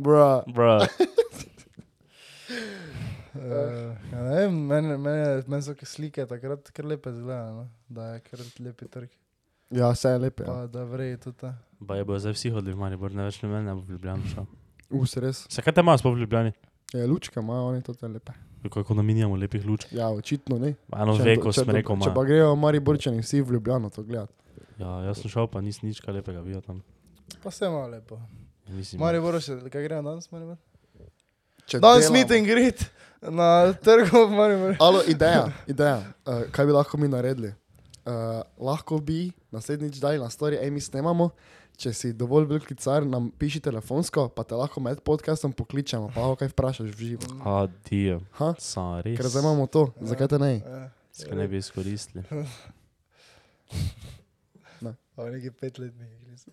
B: Bra.
C: Bra,
E: Uh, ja, ne vem, meni men, men so ke slike takrat kar lepe zgledane, no? da je kar lepi trg.
B: Ja, vse je lepo. Ja.
E: Pa da vrej tudi.
C: ba je bo zdaj vsi hodili v Maribor, ne več ne meni, ne bo v Ljubljani šel.
B: Us res.
C: Se kaj te imaš po Ljubljani?
B: Ja, lučke imajo, oni to te lepe.
C: Kako naminjamo lepih luč?
B: Ja, očitno ne.
C: Eno
B: Če-
C: veko
B: če
C: sem
B: do-
C: rekel,
B: Če pa
C: ma.
B: grejo mari borčani vsi v Ljubljano to gledati.
C: Ja, jaz sem šel, pa nisem nič kaj lepega videl tam. Ja,
E: Pa se ima lepo.
C: Mislim,
E: Maribor še, kaj gremo danes, Maribor?
B: Če
E: Danes
B: delamo-
E: meeting grid na trgu v Mariboru.
B: Alo, ideja, ideja. Uh, kaj bi lahko mi naredili? Uh, lahko bi naslednjič dali na story, ej, mi snemamo. Če si dovolj veliki car, nam piši telefonsko, pa te lahko med podcastom pokličemo, pa lahko kaj vprašaš v živo.
C: Adijo,
B: Ha?
C: sorry.
B: Ker zdaj imamo to, zakaj te ne?
E: Ja,
C: Skaj ne bi izkoristili.
E: pa neki petletni igric.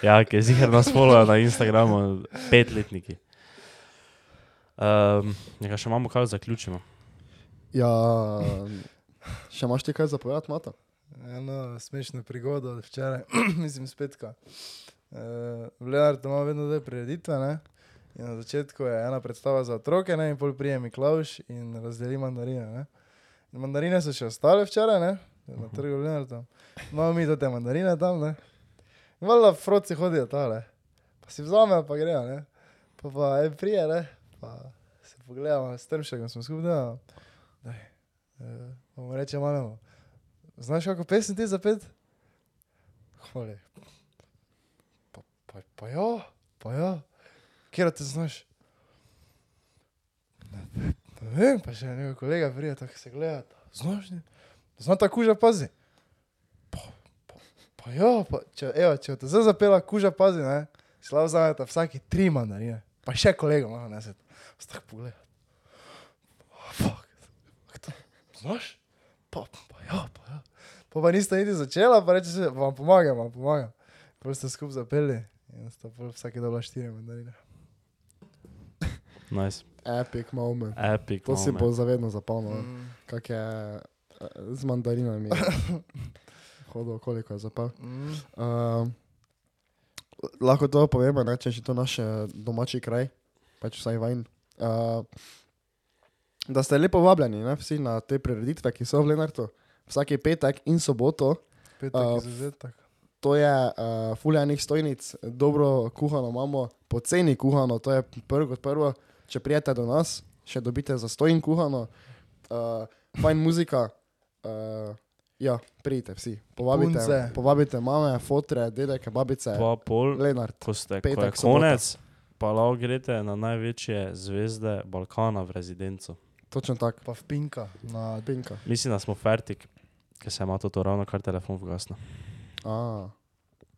B: ja,
C: Ja, ki je zihar nas followajo na Instagramu, petletniki. Um, nekaj še imamo, kaj zaključimo.
B: Ja, še imaš ti kaj zapovedati, Mata?
E: Eno smešno prigodo od včeraj, mislim spetka. Uh, v Leonardu imamo vedno dve prireditve, ne? In na začetku je ena predstava za otroke, ne? In pol prije Miklauš in razdeli mandarine, ne? In mandarine so še ostale včeraj, ne? Na trgu v Leonardu. Imamo mi te mandarine tam, ne? In valjda froci hodijo tale. Pa si vzamejo, pa grejo, ne? Pa pa en prije, ne? Pa se pogledamo, s Trmšekom smo skupaj delali. Daj, uh, bomo reče malemu. Znaš, kako pesem ti zapet? Hvali. Pa, pa, pa ja, pa ja. Kjer te znaš? Ne, ne vem, pa še nekaj kolega prija, tako se gledata. znaš, ne? Znam ta kuža pazi. Pa, pa, pa ja, pa, če, evo, če te zdaj zapela kuža pazi, ne? Slav zaneta vsaki tri mandarine. Pa še kolega malo neset. Stak pogleda. Fuck. Kaj to? Znaš? Pa, pa ja, pa ja. Pa pa niste niti začela, pa reče se, vam pomagam, vam pomagam. Prvo ste skup zapeli in sta pol vsake dobila štiri mandarine.
C: Nice.
B: Epic moment. Mm.
C: Epic. no,
B: To si
C: moment.
B: bo zavedno zapomnil, kak je eh, z mandarinami hodil, koliko je zapal.
E: Mm.
B: Um, lahko to povemo, ne, če je to naš eh, domači kraj, pač vsaj vajn. Uh, da ste lepo vabljeni, ne, vsi na te prireditve, ki so v Lenartu, vsaki petek in soboto.
E: Petek
B: A,
E: uh, izuzetek.
B: To je uh, fuljanih stojnic, dobro kuhano imamo, poceni kuhano, to je prvo kot prvo. Če prijete do nas, še dobite za stojn kuhano, uh, fajn muzika. Uh, ja, prijite vsi, povabite,
E: Punce.
B: povabite mame, fotre, dedeke, babice,
C: Pa pol,
B: Lenart.
C: ko, ste, ko je
B: petek,
C: konec, pa lahko greste na največje zvezde Balkana v rezidenco.
B: Točno tako,
E: Pa vpinka na
B: pinka.
C: Mislim, da smo fertik, ker se ima to, to ravno kar telefon vgasno.
B: A,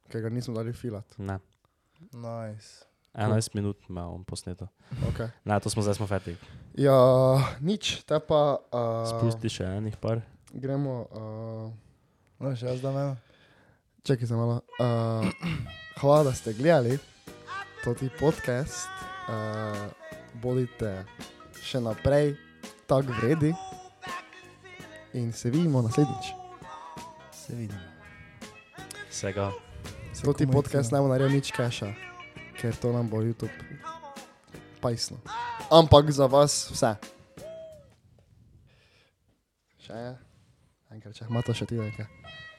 B: ker ga nismo dali filat.
C: Ne.
E: nice.
C: 11 minut ima on posneto.
B: Okay.
C: Ne, to smo zdaj smo fertik.
B: Ja, nič, te pa uh,
C: Spusti še enih par.
B: gremo. Uh,
E: No, še jaz da mene.
B: Čakaj za malo. Uh, hvala, da ste gledali to ti podcast. Uh, bodite še naprej tako vredi. In se vidimo naslednjič.
E: Se vidimo.
C: Vsega.
E: Se
B: To ti
E: komaj
B: podcast ne
E: vidimo.
B: bo naredil nič keša, ker to nam bo YouTube pajsno. Ampak za vas vse. Še enkrat, če imate še ti nekaj.